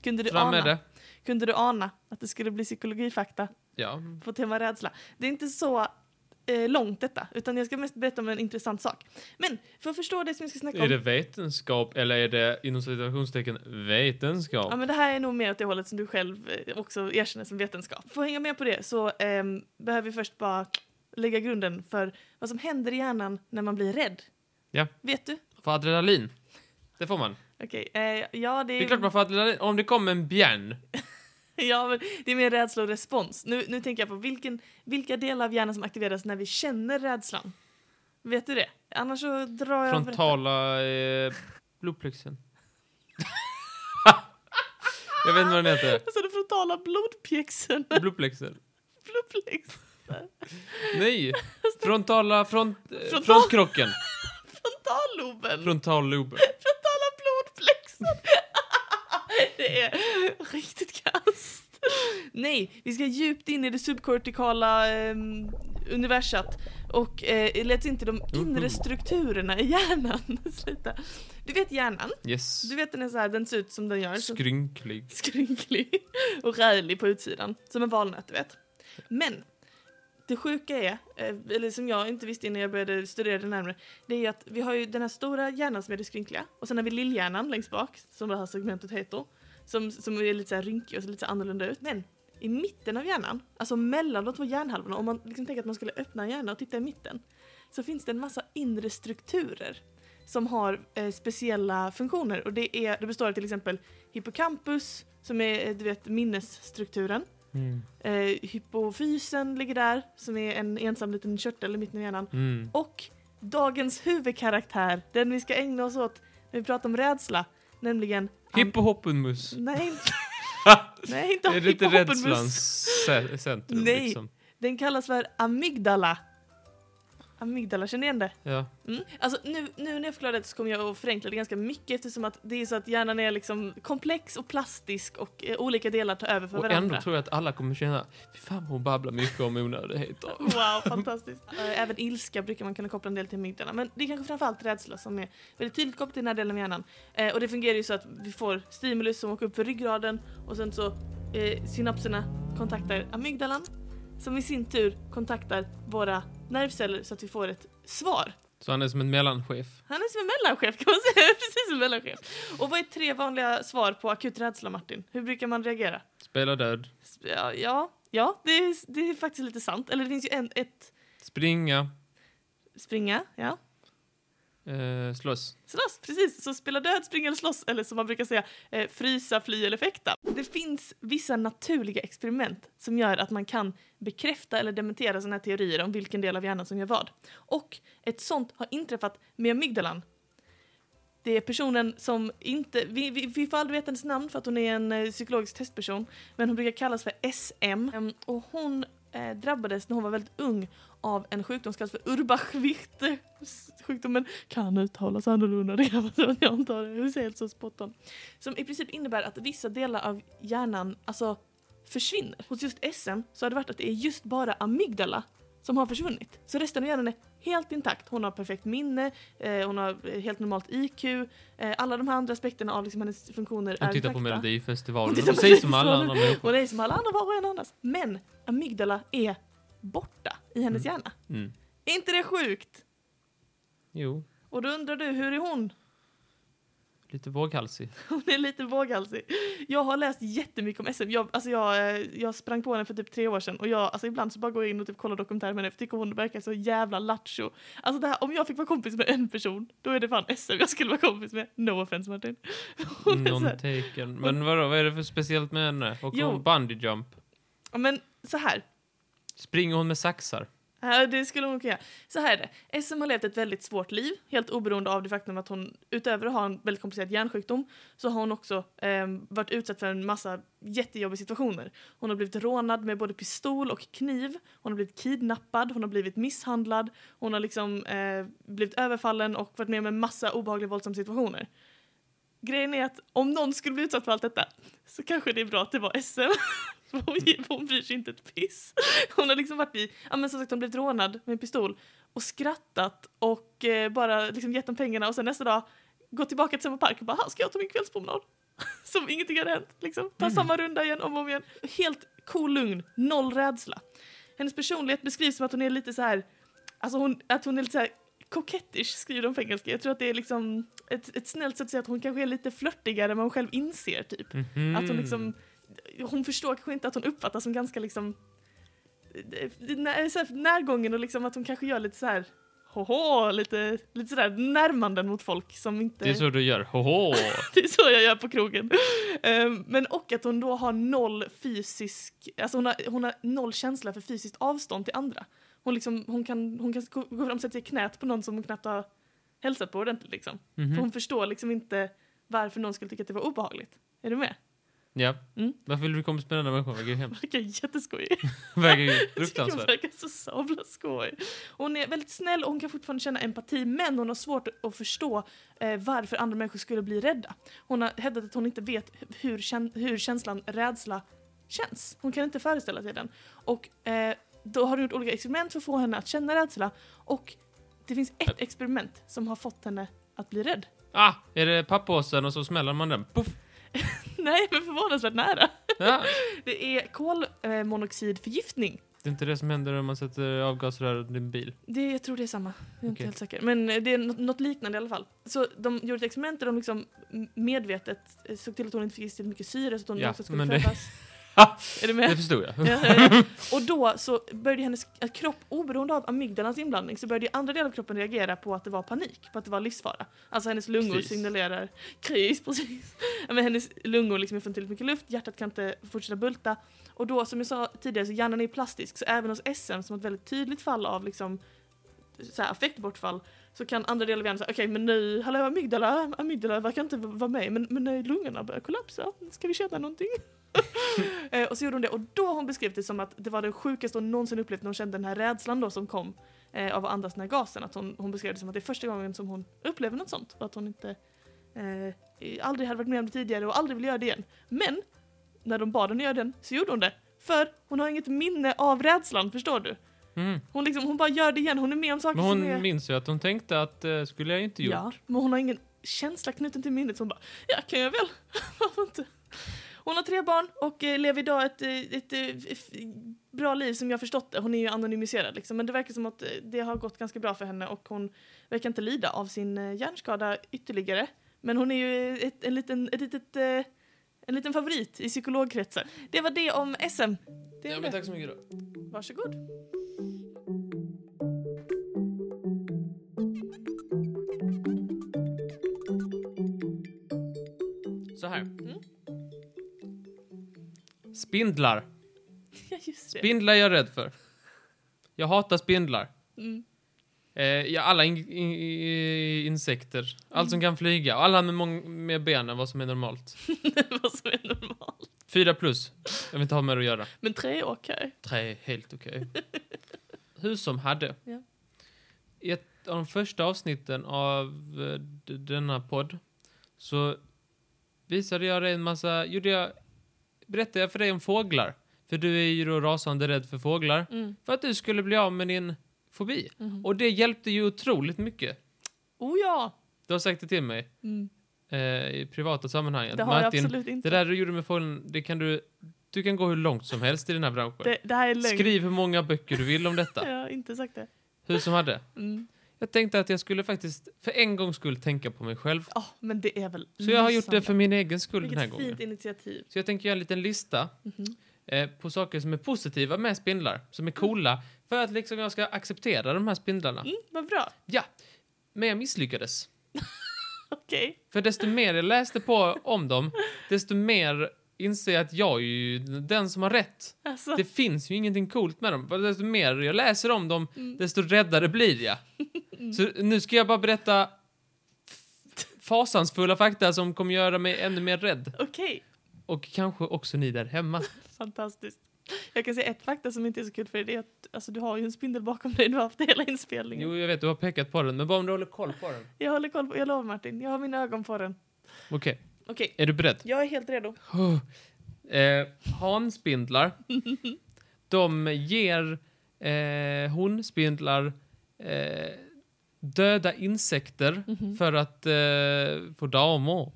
[SPEAKER 1] Kunde du,
[SPEAKER 2] Fram med
[SPEAKER 1] ana,
[SPEAKER 2] det.
[SPEAKER 1] kunde du ana att det skulle bli psykologifakta
[SPEAKER 2] Ja.
[SPEAKER 1] på tema rädsla? Det är inte så eh, långt detta, utan jag ska mest berätta om en intressant sak. Men för att förstå det som jag ska snacka
[SPEAKER 2] Är
[SPEAKER 1] om...
[SPEAKER 2] det vetenskap eller är det inom citationstecken vetenskap?
[SPEAKER 1] Ja, men det här är nog mer åt det hållet som du själv eh, också erkänner som vetenskap. För att hänga med på det så ehm, behöver vi först bara lägga grunden för vad som händer i hjärnan när man blir rädd.
[SPEAKER 2] Ja.
[SPEAKER 1] Vet du?
[SPEAKER 2] För adrenalin. Det får man.
[SPEAKER 1] Okej, eh, ja det
[SPEAKER 2] Det är klart man får adrenalin. Om det kommer en björn.
[SPEAKER 1] (laughs) Ja, men det är mer rädsla och respons. Nu, nu tänker jag på vilken, vilka delar av hjärnan som aktiveras när vi känner rädslan. Vet du det? Annars så drar jag...
[SPEAKER 2] Frontala eh, blodplexen. (laughs) Jag vet inte vad den heter.
[SPEAKER 1] (laughs) Alltså den frontala blodpjäxen. (laughs)
[SPEAKER 2] Blodplexen.
[SPEAKER 1] Blodplex.
[SPEAKER 2] (laughs) Nej! Frontala... Front, eh,
[SPEAKER 1] Frontal-
[SPEAKER 2] frontkrocken.
[SPEAKER 1] Frontalloben. (laughs)
[SPEAKER 2] Frontalloben.
[SPEAKER 1] frontala blodplexen. (laughs) det är riktigt kast. Nej, vi ska djupt in i det subkortikala ehm, universat och eh, lät inte de inre
[SPEAKER 2] Mhm.
[SPEAKER 1] strukturerna i hjärnan. (laughs) Sluta. Du vet hjärnan?
[SPEAKER 2] Yes.
[SPEAKER 1] Du vet den är så här, den ser ut som den gör. Så (laughs)
[SPEAKER 2] Skrynklig.
[SPEAKER 1] skrynklig och rälig på utsidan. Som en valnöt, du vet. Men det sjuka är, eh, eller som jag inte visste innan jag började studera det närmare, det är ju att vi har ju den här stora hjärnan som är det skrynkliga och sen har vi lillhjärnan längst bak, som det här segmentet heter, som, som är lite så här rynkig och ser lite så här annorlunda ut. Men i mitten av hjärnan, alltså mellan de två hjärnhalvorna, om man liksom tänker att man skulle öppna en hjärna och titta i mitten, så finns det en massa inre strukturer som har eh, speciella funktioner och det, är, det består av till exempel hippocampus, som är eh, du vet, minnesstrukturen.
[SPEAKER 2] Mm.
[SPEAKER 1] Eh, hypofysen ligger där, som är en ensam liten körtel i mitten av hjärnan.
[SPEAKER 2] Mm.
[SPEAKER 1] Och dagens huvudkaraktär, den vi ska ägna oss åt när vi pratar om rädsla, nämligen...
[SPEAKER 2] Hippohoppenmus. (laughs)
[SPEAKER 1] Nej, inte- nej, inte
[SPEAKER 2] Är det inte
[SPEAKER 1] hippohoppenmus.
[SPEAKER 2] rädslans ce- centrum?
[SPEAKER 1] Nej.
[SPEAKER 2] Liksom?
[SPEAKER 1] Den kallas för amygdala. Amygdala, känner ni igen det?
[SPEAKER 2] Ja.
[SPEAKER 1] Mm. Alltså nu, nu när jag förklarar det så kommer jag att förenkla det ganska mycket eftersom att det är så att hjärnan är liksom komplex och plastisk och eh, olika delar tar över för
[SPEAKER 2] Och
[SPEAKER 1] varandra.
[SPEAKER 2] ändå tror jag att alla kommer känna, fy fan vad hon babblar mycket om onödigheter.
[SPEAKER 1] (laughs) Wow, fantastiskt. Eh, Även ilska brukar man kunna koppla en del till amygdala. Men det är kanske framförallt rädsla som är väldigt tydligt kopplat till den här delen av hjärnan. Eh, och det fungerar ju så att vi får stimulus som åker upp för ryggraden och sen så eh, synapserna kontaktar amygdalan. som i sin tur kontaktar våra nervceller så att vi får ett svar.
[SPEAKER 2] Så han är som en mellanchef.
[SPEAKER 1] Han är som en mellanchef kan man säga, (laughs) precis som mellanchef. Och vad är tre vanliga svar på akut rädsla Martin? Hur brukar man reagera?
[SPEAKER 2] Spela död.
[SPEAKER 1] Sp- Ja, ja, ja det, är, det är faktiskt lite sant. Eller det finns ju en, ett
[SPEAKER 2] Springa.
[SPEAKER 1] springa, ja.
[SPEAKER 2] Eh, slåss.
[SPEAKER 1] Slåss, precis. Så spela död, springa eller slåss, eller som man brukar säga, eh, frysa, fly eller fäkta. Det finns vissa naturliga experiment som gör att man kan bekräfta eller dementera sådana här teorier om vilken del av hjärnan som gör vad. Och ett sånt har inträffat med amygdalan. Det är personen som inte, vi, vi, vi får aldrig veta hennes namn för att hon är en eh, psykologisk testperson, men hon brukar kallas för SM. Ehm, och hon eh, drabbades när hon var väldigt ung av en sjukdom som kallas för Urbach-Wichte. Sjukdomen kan uttalas annorlunda, det kan man säga att jag antar det. Det är helt så spot on. Som i princip innebär att vissa delar av hjärnan alltså försvinner. Hos just SM så har det varit att det är just bara amygdala som har försvunnit. Så resten av hjärnan är helt intakt. Hon har perfekt minne, eh, hon har helt normalt IQ, eh, alla de här andra aspekterna av liksom hennes funktioner
[SPEAKER 2] Hon
[SPEAKER 1] är
[SPEAKER 2] tittar på
[SPEAKER 1] intakta.
[SPEAKER 2] Melodifestivalen.
[SPEAKER 1] Hon tittar
[SPEAKER 2] De
[SPEAKER 1] på
[SPEAKER 2] säger som alla andra
[SPEAKER 1] Melodifestivalen.
[SPEAKER 2] människor.
[SPEAKER 1] Hon är som alla andra var och en annars. Men amygdala är borta i hennes
[SPEAKER 2] Mm.
[SPEAKER 1] hjärna.
[SPEAKER 2] Mm.
[SPEAKER 1] Är inte det sjukt?
[SPEAKER 2] Jo,
[SPEAKER 1] Och då undrar du, hur är hon? (laughs)
[SPEAKER 2] lite våghalsig.
[SPEAKER 1] Hon är lite våghalsig. Jag har läst jättemycket om SM. Jag, alltså jag, eh, jag sprang på henne för typ tre år sedan och jag, alltså ibland så bara går jag in och typ kollar dokumentärer med henne för jag tycker hon verkar så jävla lattjo. Alltså det här, om jag fick vara kompis med en person, då är det fan SM jag skulle vara kompis med. No offense Martin. (laughs) Hon är så
[SPEAKER 2] Non
[SPEAKER 1] här,
[SPEAKER 2] taken. Men vadå, vad är det för speciellt med henne? Och
[SPEAKER 1] Jo.
[SPEAKER 2] hon bungee jump.
[SPEAKER 1] Ja, men så här,
[SPEAKER 2] Springer hon med saxar?
[SPEAKER 1] Ja, det skulle hon kunna göra. Så här är det. SM har levt ett väldigt svårt liv, helt oberoende av det faktum att hon utöver att ha en väldigt komplicerad hjärnsjukdom så har hon också ehm, varit utsatt för en massa jättejobbiga situationer. Hon har blivit rånad med både pistol och kniv. Hon har blivit kidnappad, hon har blivit misshandlad, hon har liksom eh, blivit överfallen och varit med om en massa obehagliga våldsamma situationer. Grejen är att om någon skulle bli utsatt för allt detta så kanske det är bra att det var SM. För hon, (laughs) hon bryr sig inte ett piss. (laughs) Hon har liksom varit i, ja men som sagt hon blivit rånad med en pistol och skrattat och eh, bara liksom gett dem pengarna och sen nästa dag gått tillbaka till samma park och bara, "Ha, ska jag ta min kvällspromenad? (laughs) Som ingenting hade hänt liksom. Ta samma runda igen om och om igen. Helt cool lugn, noll rädsla. Hennes personlighet beskrivs som att hon är lite så här, alltså hon, att hon är lite så här kokettish skriver de på engelska. Jag tror att det är liksom ett, ett snällt sätt att säga att hon kanske är lite flörtigare än vad hon själv inser typ.
[SPEAKER 2] Mhm.
[SPEAKER 1] Att hon liksom,
[SPEAKER 2] Mm.
[SPEAKER 1] hon förstår kanske inte att hon uppfattas som ganska liksom eh, när- så här närgången och liksom att hon kanske gör lite så här hoho, lite, lite sådär närmanden mot folk som inte...
[SPEAKER 2] Det är så du gör. Hoho!
[SPEAKER 1] (laughs) Det är så jag gör på krogen. Ehm, men och att hon då har noll fysisk, alltså hon har, hon har noll känsla för fysiskt avstånd till andra. Hon, liksom, hon kan, hon kan gå gå fram och sätta sig i knät på någon som hon knappt har hälsat på ordentligt liksom. För
[SPEAKER 2] Mhm.
[SPEAKER 1] hon förstår liksom inte varför någon skulle tycka att det var obehagligt. Är du med? (laughs)
[SPEAKER 2] Ja.
[SPEAKER 1] Mm.
[SPEAKER 2] Varför vill du komma med den där människan? Verkar ju
[SPEAKER 1] Hon
[SPEAKER 2] (laughs) hemskt.
[SPEAKER 1] verkar jätteskojig.
[SPEAKER 2] Verkar ju
[SPEAKER 1] (laughs) Jag tycker hon
[SPEAKER 2] fruktansvärt.
[SPEAKER 1] verkar så sabla skojig. Hon är väldigt snäll och hon kan fortfarande känna empati men hon har svårt att förstå eh, varför andra människor skulle bli rädda. Hon har hävdat att hon inte vet hur, kän- hur känslan rädsla känns. Hon kan inte föreställa sig den. Och eh, då har de gjort olika experiment för att få henne att känna rädsla och det finns ett experiment som har fått henne att bli rädd. (laughs)
[SPEAKER 2] Ah! Är det pappåsen och så smäller man den? Puff!
[SPEAKER 1] Nej, men förvånansvärt nära.
[SPEAKER 2] Ja.
[SPEAKER 1] Det är kolmonoxidförgiftning.
[SPEAKER 2] Det är inte det som händer om man sätter avgasröret i en bil.
[SPEAKER 1] Det, jag tror det är samma. Jag är inte
[SPEAKER 2] Okej.
[SPEAKER 1] helt säker. Men eh, det är något, något liknande i alla fall. Så de gjorde ett experiment där de liksom m- medvetet eh, såg till att hon inte fick i sig tillräckligt mycket syre så att hon
[SPEAKER 2] Ja,
[SPEAKER 1] också skulle
[SPEAKER 2] men det-
[SPEAKER 1] födas.
[SPEAKER 2] (laughs)
[SPEAKER 1] är du
[SPEAKER 2] Det
[SPEAKER 1] med?
[SPEAKER 2] förstod jag.
[SPEAKER 1] Ja, ja, ja. (laughs) och då så började hennes k- kropp, oberoende av amygdalans inblandning, så började ju andra delar av kroppen reagera på att det var panik, på att det var livsfara. Alltså hennes lungor
[SPEAKER 2] Kris.
[SPEAKER 1] signalerar kris, (laughs) precis. Ja, Men hennes lungor liksom är för tillräckligt mycket luft, hjärtat kan inte fortsätta bulta. Och då, som jag sa tidigare, så hjärnan är ju plastisk, så även hos SM, som har ett väldigt tydligt fall av liksom så här, affektbortfall, så kan andra delar av hjärnan säga okej men nu, hallå amygdala, amygdala verkar inte v- vara med, men, men nu lungorna börjar kollapsa, ska vi känna någonting? Eh, och så gjorde hon det och då har hon beskrivit det som att det var det sjukaste hon någonsin upplevt när hon kände den här rädslan då som kom eh, av att andas den här gasen. Att hon, hon beskrev det som att det är första gången som hon upplever något sånt och att hon inte eh, aldrig hade varit med om det tidigare och aldrig vill göra det igen. Men när de bad henne göra den så gjorde hon det. För hon har inget minne av rädslan, förstår du?
[SPEAKER 2] Mm.
[SPEAKER 1] Hon, liksom, hon bara gör det igen, hon är med om saker
[SPEAKER 2] Men
[SPEAKER 1] som är...
[SPEAKER 2] hon minns ju att hon tänkte att eh, skulle jag inte
[SPEAKER 1] (laughs)
[SPEAKER 2] gjort.
[SPEAKER 1] Ja, men hon har ingen känsla knuten till minnet. Så hon bara, ja kan jag väl, varför inte? Hon har tre barn och eh, lever idag ett, eh, ett, eh, f- bra liv som jag förstått det. Hon är ju anonymiserad liksom, men det verkar som att eh, det har gått ganska bra för henne och hon verkar inte lida av sin eh, hjärnskada ytterligare. Men hon är ju eh, ett, en, liten, ett litet, eh, en liten favorit i psykologkretsar. Det var det om SM. Det är
[SPEAKER 2] Ja,
[SPEAKER 1] det.
[SPEAKER 2] men tack så mycket då.
[SPEAKER 1] Varsågod. (laughs)
[SPEAKER 2] Så här.
[SPEAKER 1] Mm.
[SPEAKER 2] Mm. Spindlar.
[SPEAKER 1] Ja, just det.
[SPEAKER 2] Spindlar är jag rädd för. Jag hatar spindlar.
[SPEAKER 1] Mm. (laughs)
[SPEAKER 2] Eh, ja, alla in, i- i- insekter. Allt
[SPEAKER 1] Mm.
[SPEAKER 2] som kan flyga. Och alla med, mång- med ben än vad som är normalt.
[SPEAKER 1] Vad som är normalt.
[SPEAKER 2] Fyra plus. Jag vill inte ha mer att göra.
[SPEAKER 1] Men tre är okej.
[SPEAKER 2] Tre är helt okej.
[SPEAKER 1] (laughs)
[SPEAKER 2] Hur som hade.
[SPEAKER 1] Ja.
[SPEAKER 2] I ett av de första avsnitten av eh, d- denna podd så visade jag dig en massa... Gjorde jag, berättade jag för dig om fåglar. För du är ju då rasande rädd för fåglar.
[SPEAKER 1] Mm.
[SPEAKER 2] För att du skulle bli av med din fobi.
[SPEAKER 1] Mhm.
[SPEAKER 2] Och det hjälpte ju otroligt mycket.
[SPEAKER 1] Oh ja!
[SPEAKER 2] Du har sagt det till mig
[SPEAKER 1] Mm.
[SPEAKER 2] eh, i privata sammanhang. att
[SPEAKER 1] Det har jag
[SPEAKER 2] Martin,
[SPEAKER 1] absolut inte.
[SPEAKER 2] det där du gjorde med fågeln, det kan du... Du kan gå hur långt som helst i den här branschen.
[SPEAKER 1] Det, det här är lögn.
[SPEAKER 2] Skriv hur många böcker du vill om detta.
[SPEAKER 1] Jag har inte sagt det.
[SPEAKER 2] Hur som hade.
[SPEAKER 1] Mm.
[SPEAKER 2] Jag tänkte att jag skulle faktiskt för en gångs skull tänka på mig själv.
[SPEAKER 1] Ja, men det är väl
[SPEAKER 2] Så jag har gjort det
[SPEAKER 1] lysande.
[SPEAKER 2] för min egen skull den
[SPEAKER 1] Vilket
[SPEAKER 2] här
[SPEAKER 1] fint
[SPEAKER 2] gången.
[SPEAKER 1] initiativ.
[SPEAKER 2] Så jag tänker göra en liten lista
[SPEAKER 1] Mhm.
[SPEAKER 2] eh, på saker som är positiva med spindlar, som är coola, för att liksom jag ska acceptera de här spindlarna.
[SPEAKER 1] Mm, vad bra.
[SPEAKER 2] Ja, men jag misslyckades.
[SPEAKER 1] Okej.
[SPEAKER 2] För desto mer jag läste på om dem, desto mer inser jag att jag är ju den som har rätt.
[SPEAKER 1] Alltså,
[SPEAKER 2] Det finns ju ingenting coolt med dem. Desto mer jag läser om dem,
[SPEAKER 1] Mm.
[SPEAKER 2] desto räddare blir jag. Så nu ska jag bara berätta f- fasansfulla fakta som kommer göra mig ännu mer rädd.
[SPEAKER 1] okej.
[SPEAKER 2] Och kanske också ni där hemma.
[SPEAKER 1] Fantastiskt. Jag kan säga ett fakta som inte är så kul för dig, det är att alltså, du har ju en spindel bakom dig. Du har haft det hela inspelningen.
[SPEAKER 2] Jo, jag vet, du har pekat på den, men bara om du håller koll på den.
[SPEAKER 1] Jag håller koll på, jag lovar Martin, jag har mina ögon på den.
[SPEAKER 2] Okej,
[SPEAKER 1] Okej,
[SPEAKER 2] är du beredd?
[SPEAKER 1] jag är helt redo.
[SPEAKER 2] Oh. Eh, hanspindlar. De ger eh, honspindlar eh, döda insekter
[SPEAKER 1] Mm.
[SPEAKER 2] för att eh, få damer.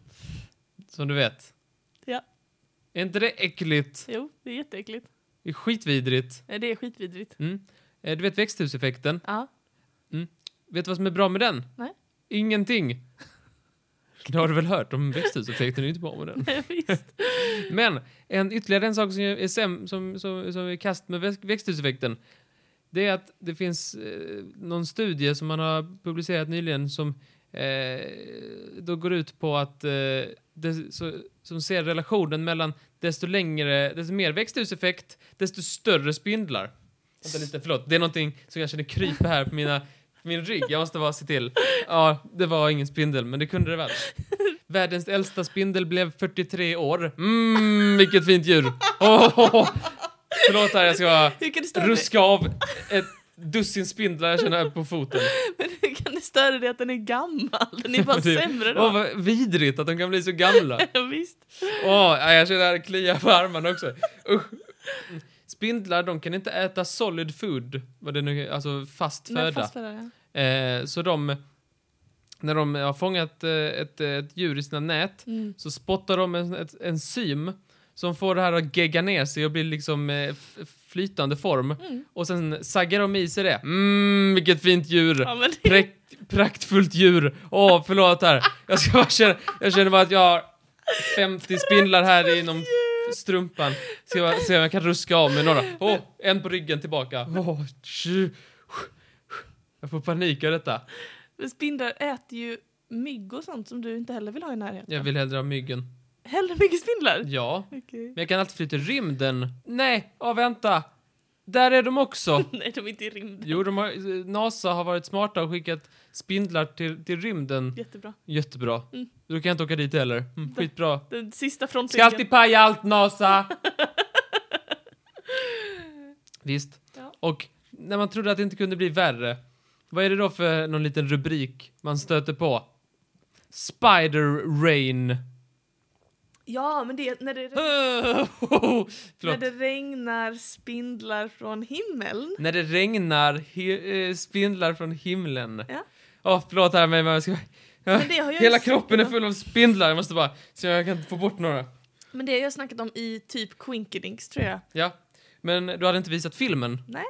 [SPEAKER 2] Som du vet.
[SPEAKER 1] Ja.
[SPEAKER 2] Är inte det äckligt?
[SPEAKER 1] Jo, det är jätteäckligt.
[SPEAKER 2] Det är skitvidrigt.
[SPEAKER 1] Nej, Det är skitvidrigt.
[SPEAKER 2] Mm. Eh, du vet växthuseffekten?
[SPEAKER 1] Ja.
[SPEAKER 2] Vet du vad som är bra med den?
[SPEAKER 1] Nej. (laughs)
[SPEAKER 2] Ingenting. Det har du väl hört om växthuseffekten? Det är ju inte bra med den.
[SPEAKER 1] Nej, (laughs) Visst.
[SPEAKER 2] Men en, ytterligare en sak som är, säm, som, som, som är kast med väx- växthuseffekten. Det är att det finns eh, någon studie som man har publicerat nyligen som eh, då går ut på att eh, det, så, som ser relationen mellan desto längre, desto mer växthuseffekt, desto större spindlar. Vänta lite, förlåt. Det är någonting som jag känner krypa här på mina, min rygg. Jag måste bara se till. Ja, det var ingen spindel, men det kunde det väl. Världens äldsta spindel blev 43 år. Mm, vilket fint djur. Oh, Förlåt här, jag ska bara
[SPEAKER 1] Hur kan det störa dig?
[SPEAKER 2] ruska av ett dussin spindlar jag känner på foten.
[SPEAKER 1] Men hur (laughs) kan det störa dig att den är gammal? Den är bara
[SPEAKER 2] Det-
[SPEAKER 1] sämre
[SPEAKER 2] Åh,
[SPEAKER 1] då.
[SPEAKER 2] vad vidrigt att de kan bli så gamla.
[SPEAKER 1] (laughs) Ja, Visst.
[SPEAKER 2] Åh, nej, jag känner att det kliar på armarna också. Usch. Spindlar, de kan inte äta solid food, vad det nu är, alltså fast
[SPEAKER 1] Men
[SPEAKER 2] föda.
[SPEAKER 1] fast för det, ja.
[SPEAKER 2] Eh, så de, när de har fångat eh, ett, ett djur i sina nät,
[SPEAKER 1] Mm.
[SPEAKER 2] så spottar de en, ett enzym som får det här att gegga ner sig och bli liksom eh, f- flytande form.
[SPEAKER 1] Mm.
[SPEAKER 2] Och sen saggar de i sig det. Mm, vilket fint djur!
[SPEAKER 1] Ja, men det,
[SPEAKER 2] Prakt, praktfullt djur! Åh, förlåt här. Jag, ska bara känna, jag känner bara att jag har 50 spindlar här inom strumpan. Ska bara se om jag kan ruska av med några. Åh, en på ryggen tillbaka. Åh, tju. jag får panik av detta.
[SPEAKER 1] men spindlar äter ju mygg och sånt som du inte heller vill ha i närheten.
[SPEAKER 2] Jag vill hellre ha myggen.
[SPEAKER 1] Hellre myggspindlar?
[SPEAKER 2] Ja.
[SPEAKER 1] Okej.
[SPEAKER 2] Men jag kan alltid fly till rymden. Nej, åh vänta. Där är de också.
[SPEAKER 1] Nej, de är inte i rymden.
[SPEAKER 2] Jo, de har, NASA har varit smarta och skickat spindlar till, till rymden.
[SPEAKER 1] Jättebra.
[SPEAKER 2] Jättebra.
[SPEAKER 1] Mm.
[SPEAKER 2] Då kan jag inte åka dit heller. Mm, skitbra.
[SPEAKER 1] Den sista
[SPEAKER 2] Ska
[SPEAKER 1] frontlinjen.
[SPEAKER 2] alltid paja allt NASA! (laughs) Visst.
[SPEAKER 1] Ja.
[SPEAKER 2] Och när man trodde att det inte kunde bli värre, vad är det då för någon liten rubrik man stöter på? Spider rain.
[SPEAKER 1] Ja, men det är när det, när
[SPEAKER 2] (laughs) Förlåt.
[SPEAKER 1] det regnar spindlar från himlen.
[SPEAKER 2] När det regnar he- eh, spindlar från himlen.
[SPEAKER 1] Ja.
[SPEAKER 2] Åh, förlåt här men jag ska...
[SPEAKER 1] Men det har jag ju
[SPEAKER 2] Hela
[SPEAKER 1] sett
[SPEAKER 2] kroppen är
[SPEAKER 1] då.
[SPEAKER 2] full av spindlar, jag måste bara se om jag kan få bort några.
[SPEAKER 1] Men det har jag snackat om i typ Quinkedinks tror jag. (laughs)
[SPEAKER 2] Ja. Men du hade inte visat filmen.
[SPEAKER 1] Nej.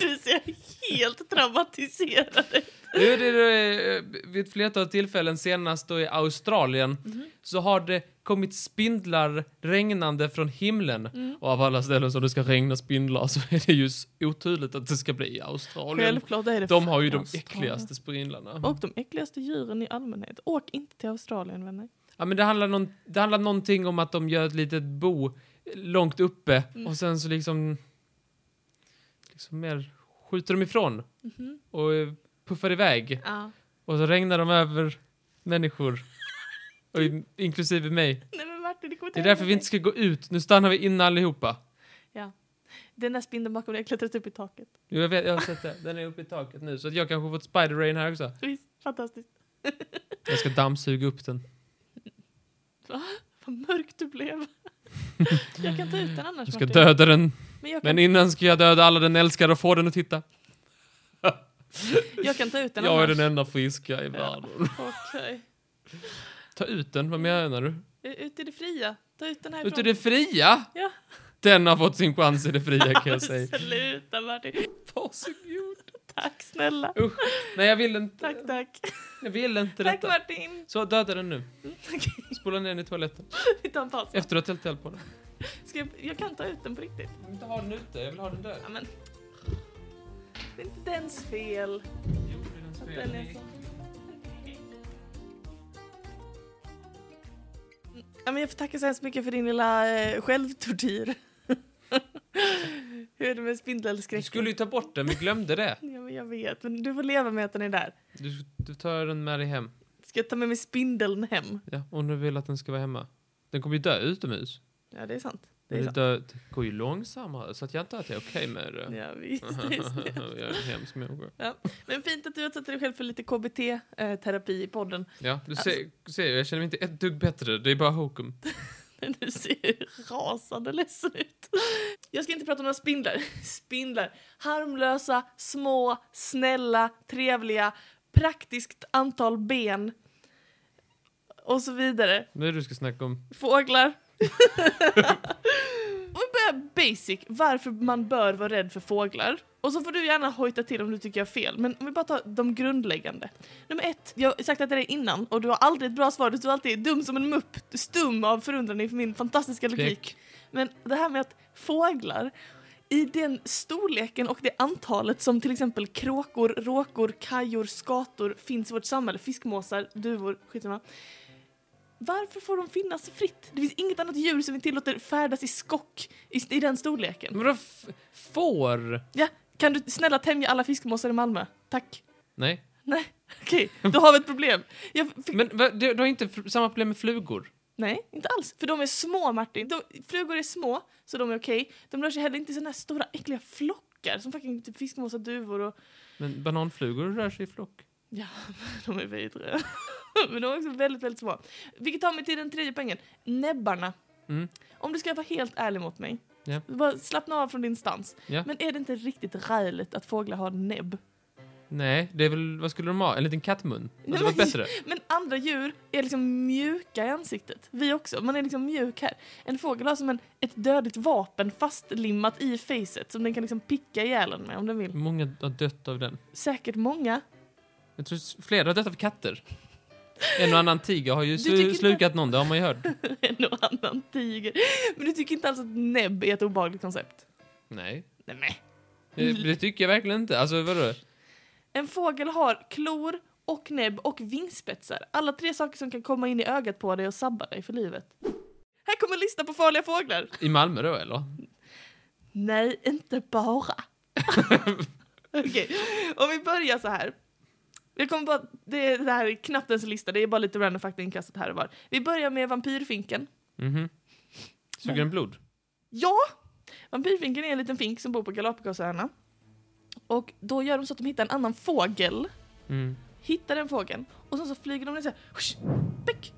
[SPEAKER 1] du ser
[SPEAKER 2] (laughs)
[SPEAKER 1] helt traumatiserad ut.
[SPEAKER 2] Jo, det är, eh, vid ett flertal tillfällen, senast då i Australien, så har det kommit spindlar regnande från himlen.
[SPEAKER 1] Mm.
[SPEAKER 2] Och av alla ställen som det ska regna spindlar så är det ju s- oturligt att det ska bli i Australien.
[SPEAKER 1] Självklart är det
[SPEAKER 2] De har ju de
[SPEAKER 1] fucking Australien.
[SPEAKER 2] äckligaste spindlarna.
[SPEAKER 1] Och de äckligaste djuren i allmänhet. Åk inte till Australien vänner.
[SPEAKER 2] Ja, men det, handlar någon, det handlar någonting om att de gör ett litet bo långt uppe
[SPEAKER 1] Mm.
[SPEAKER 2] och sen så liksom... Liksom mer skjuter de ifrån
[SPEAKER 1] Mhm.
[SPEAKER 2] och eh, puffar iväg.
[SPEAKER 1] Ja.
[SPEAKER 2] Och så regnar de över människor. Och in, inklusive mig.
[SPEAKER 1] Nej men Martin det kommer
[SPEAKER 2] Det är därför vi inte ska gå ut. Nu stannar vi inne allihopa.
[SPEAKER 1] Ja. Den där spindeln bakom dig har klättrat upp i taket.
[SPEAKER 2] Jo, jag vet, jag har sett det. Den är uppe i taket nu. Så att jag kanske har fått spider-rain här också.
[SPEAKER 1] Visst, fantastiskt.
[SPEAKER 2] Jag ska dammsuga upp den.
[SPEAKER 1] Vad mörk du blev. (laughs) jag kan ta ut den annars
[SPEAKER 2] Jag ska
[SPEAKER 1] Martin.
[SPEAKER 2] döda den.
[SPEAKER 1] Men jag kan,
[SPEAKER 2] Men innan ska jag döda alla den älskar och få den att titta.
[SPEAKER 1] jag kan ta ut den
[SPEAKER 2] Jag är
[SPEAKER 1] annars.
[SPEAKER 2] den enda friska i världen.
[SPEAKER 1] Okej.
[SPEAKER 2] Ta ut den, vad menar du?
[SPEAKER 1] Ut i det fria. Ta ut den härifrån.
[SPEAKER 2] Ut i det fria?
[SPEAKER 1] Ja.
[SPEAKER 2] Den har fått sin chans i det fria
[SPEAKER 1] (laughs)
[SPEAKER 2] kan jag säga.
[SPEAKER 1] Sluta Martin.
[SPEAKER 2] Varsågod.
[SPEAKER 1] Tack snälla.
[SPEAKER 2] Usch, nej jag vill inte.
[SPEAKER 1] Tack, tack.
[SPEAKER 2] Jag vill inte
[SPEAKER 1] Tack
[SPEAKER 2] detta.
[SPEAKER 1] Martin. (laughs)
[SPEAKER 2] Så döda den nu.
[SPEAKER 1] Okej,
[SPEAKER 2] Spola ner den i toaletten.
[SPEAKER 1] Vi tar en paus.
[SPEAKER 2] Efter att jag har tält på den.
[SPEAKER 1] Ska jag, jag kan ta ut den på riktigt.
[SPEAKER 2] Jag vill inte ha den ute, jag vill ha den död.
[SPEAKER 1] Ja, men. Det är inte dens fel.
[SPEAKER 2] Jo, det är dens
[SPEAKER 1] Att
[SPEAKER 2] fel.
[SPEAKER 1] den
[SPEAKER 2] Den
[SPEAKER 1] är
[SPEAKER 2] är
[SPEAKER 1] så. Ja, men jag får tacka så hemskt mycket för din lilla eh, självtortyr. (laughs) Hur är det med
[SPEAKER 2] Du
[SPEAKER 1] spindelskräcken?
[SPEAKER 2] skulle ju ta bort den, vi glömde det.
[SPEAKER 1] ja, men jag vet, men du får leva med att den är där.
[SPEAKER 2] Du, du tar den med dig hem.
[SPEAKER 1] Ska jag ta med mig spindeln hem?
[SPEAKER 2] Ja, om du vill att den ska vara hemma. Den kommer ju dö utomhus.
[SPEAKER 1] Ja, det är sant. Det
[SPEAKER 2] Det,
[SPEAKER 1] är
[SPEAKER 2] det,
[SPEAKER 1] sant.
[SPEAKER 2] dö, det går ju långsammare, så att jag inte att jag är okej med det.
[SPEAKER 1] Ja, visst, det är snällt.
[SPEAKER 2] (laughs) jag är en hemsk människa.
[SPEAKER 1] Men fint att du har satt dig själv för lite KBT-terapi eh, i podden.
[SPEAKER 2] Ja, du
[SPEAKER 1] Alltså-
[SPEAKER 2] ser, ser, jag känner mig inte ett dugg bättre. Det är bara hokum.
[SPEAKER 1] (laughs) Men Du ser rasande ledsen ut. Jag ska inte prata om några spindlar. (laughs) Spindlar. Harmlösa, små, snälla, trevliga, praktiskt antal ben. Och så vidare.
[SPEAKER 2] Nu är det du ska snacka om.
[SPEAKER 1] (laughs) Fåglar. Vi börjar basic, varför man bör vara rädd för fåglar. Och så får du gärna hojta till om du tycker jag har fel, men om vi bara tar de grundläggande. Nummer ett, jag har sagt att det är innan och du har aldrig ett bra svar, du är alltid dum som en mupp, stum av förundran inför min fantastiska logik. Men det här med att fåglar, i den storleken och det antalet som till exempel kråkor, råkor, kajor, skator finns i vårt samhälle, fiskmåsar, duvor, skitsamma. Varför får de finnas fritt? Det finns inget annat djur som vi tillåter färdas i skock i, i den storleken.
[SPEAKER 2] Men då f- får?
[SPEAKER 1] Ja, kan du snälla tämja alla fiskmåsar i Malmö? Tack. (laughs)
[SPEAKER 2] Nej.
[SPEAKER 1] Nej, okej, då har vi ett problem. Jag fick,
[SPEAKER 2] Men va, du, du har inte f- samma problem med flugor?
[SPEAKER 1] nej, inte alls. För de är små, Martin. De, flugor är små, så de är okej. De rör sig heller inte i såna här stora, äckliga flockar som fucking typ fiskmåsar, duvor och...
[SPEAKER 2] Men bananflugor rör sig i flock.
[SPEAKER 1] Ja, de är vidriga. (laughs) Men de är också väldigt, väldigt små. Vilket tar mig till den tredje poängen. Näbbarna.
[SPEAKER 2] Mm.
[SPEAKER 1] Om du ska vara helt ärlig mot mig.
[SPEAKER 2] Ja.
[SPEAKER 1] Bara slappna av från din stans.
[SPEAKER 2] Ja.
[SPEAKER 1] Men är det inte riktigt räligt att fåglar har näbb?
[SPEAKER 2] Nej, det är väl, vad skulle de ha? En liten kattmun? Det
[SPEAKER 1] Nej,
[SPEAKER 2] hade varit
[SPEAKER 1] men-
[SPEAKER 2] bättre.
[SPEAKER 1] Men andra djur är liksom mjuka i ansiktet. Vi också. Man är liksom mjuk här. En fågel har som en, ett dödligt vapen fastlimmat i facet som den kan liksom picka ihjäl en med om den vill.
[SPEAKER 2] Många har dött av den.
[SPEAKER 1] Säkert många. (laughs)
[SPEAKER 2] Jag tror s- flera har dött av katter. En och annan tiger har ju
[SPEAKER 1] Du tycker
[SPEAKER 2] slu-
[SPEAKER 1] inte-
[SPEAKER 2] slukat någon, det har man ju hört.
[SPEAKER 1] En och annan tiger. Men du tycker inte alls att näbb är ett obehagligt koncept?
[SPEAKER 2] Nej,
[SPEAKER 1] Nej, men.
[SPEAKER 2] det, det tycker jag verkligen inte. Alltså vadå?
[SPEAKER 1] En fågel har klor och näbb och vingspetsar. Alla tre saker som kan komma in i ögat på dig och sabba dig för livet. Här kommer en lista på farliga fåglar.
[SPEAKER 2] I Malmö då eller?
[SPEAKER 1] Nej, inte bara. Okej, om vi börjar så här. Jag kommer bara, det, det här är knappt ens en lista, det är bara lite random fakta inkastat här och var. Vi börjar med vampyrfinken.
[SPEAKER 2] Mhm. Suger den blod?
[SPEAKER 1] Ja! Vampyrfinken är en liten fink som bor på Galapagosöarna. Och då gör de så att de hittar en annan fågel
[SPEAKER 2] Mm.
[SPEAKER 1] hittar den fågeln och sen så flyger de ner såhär, beck,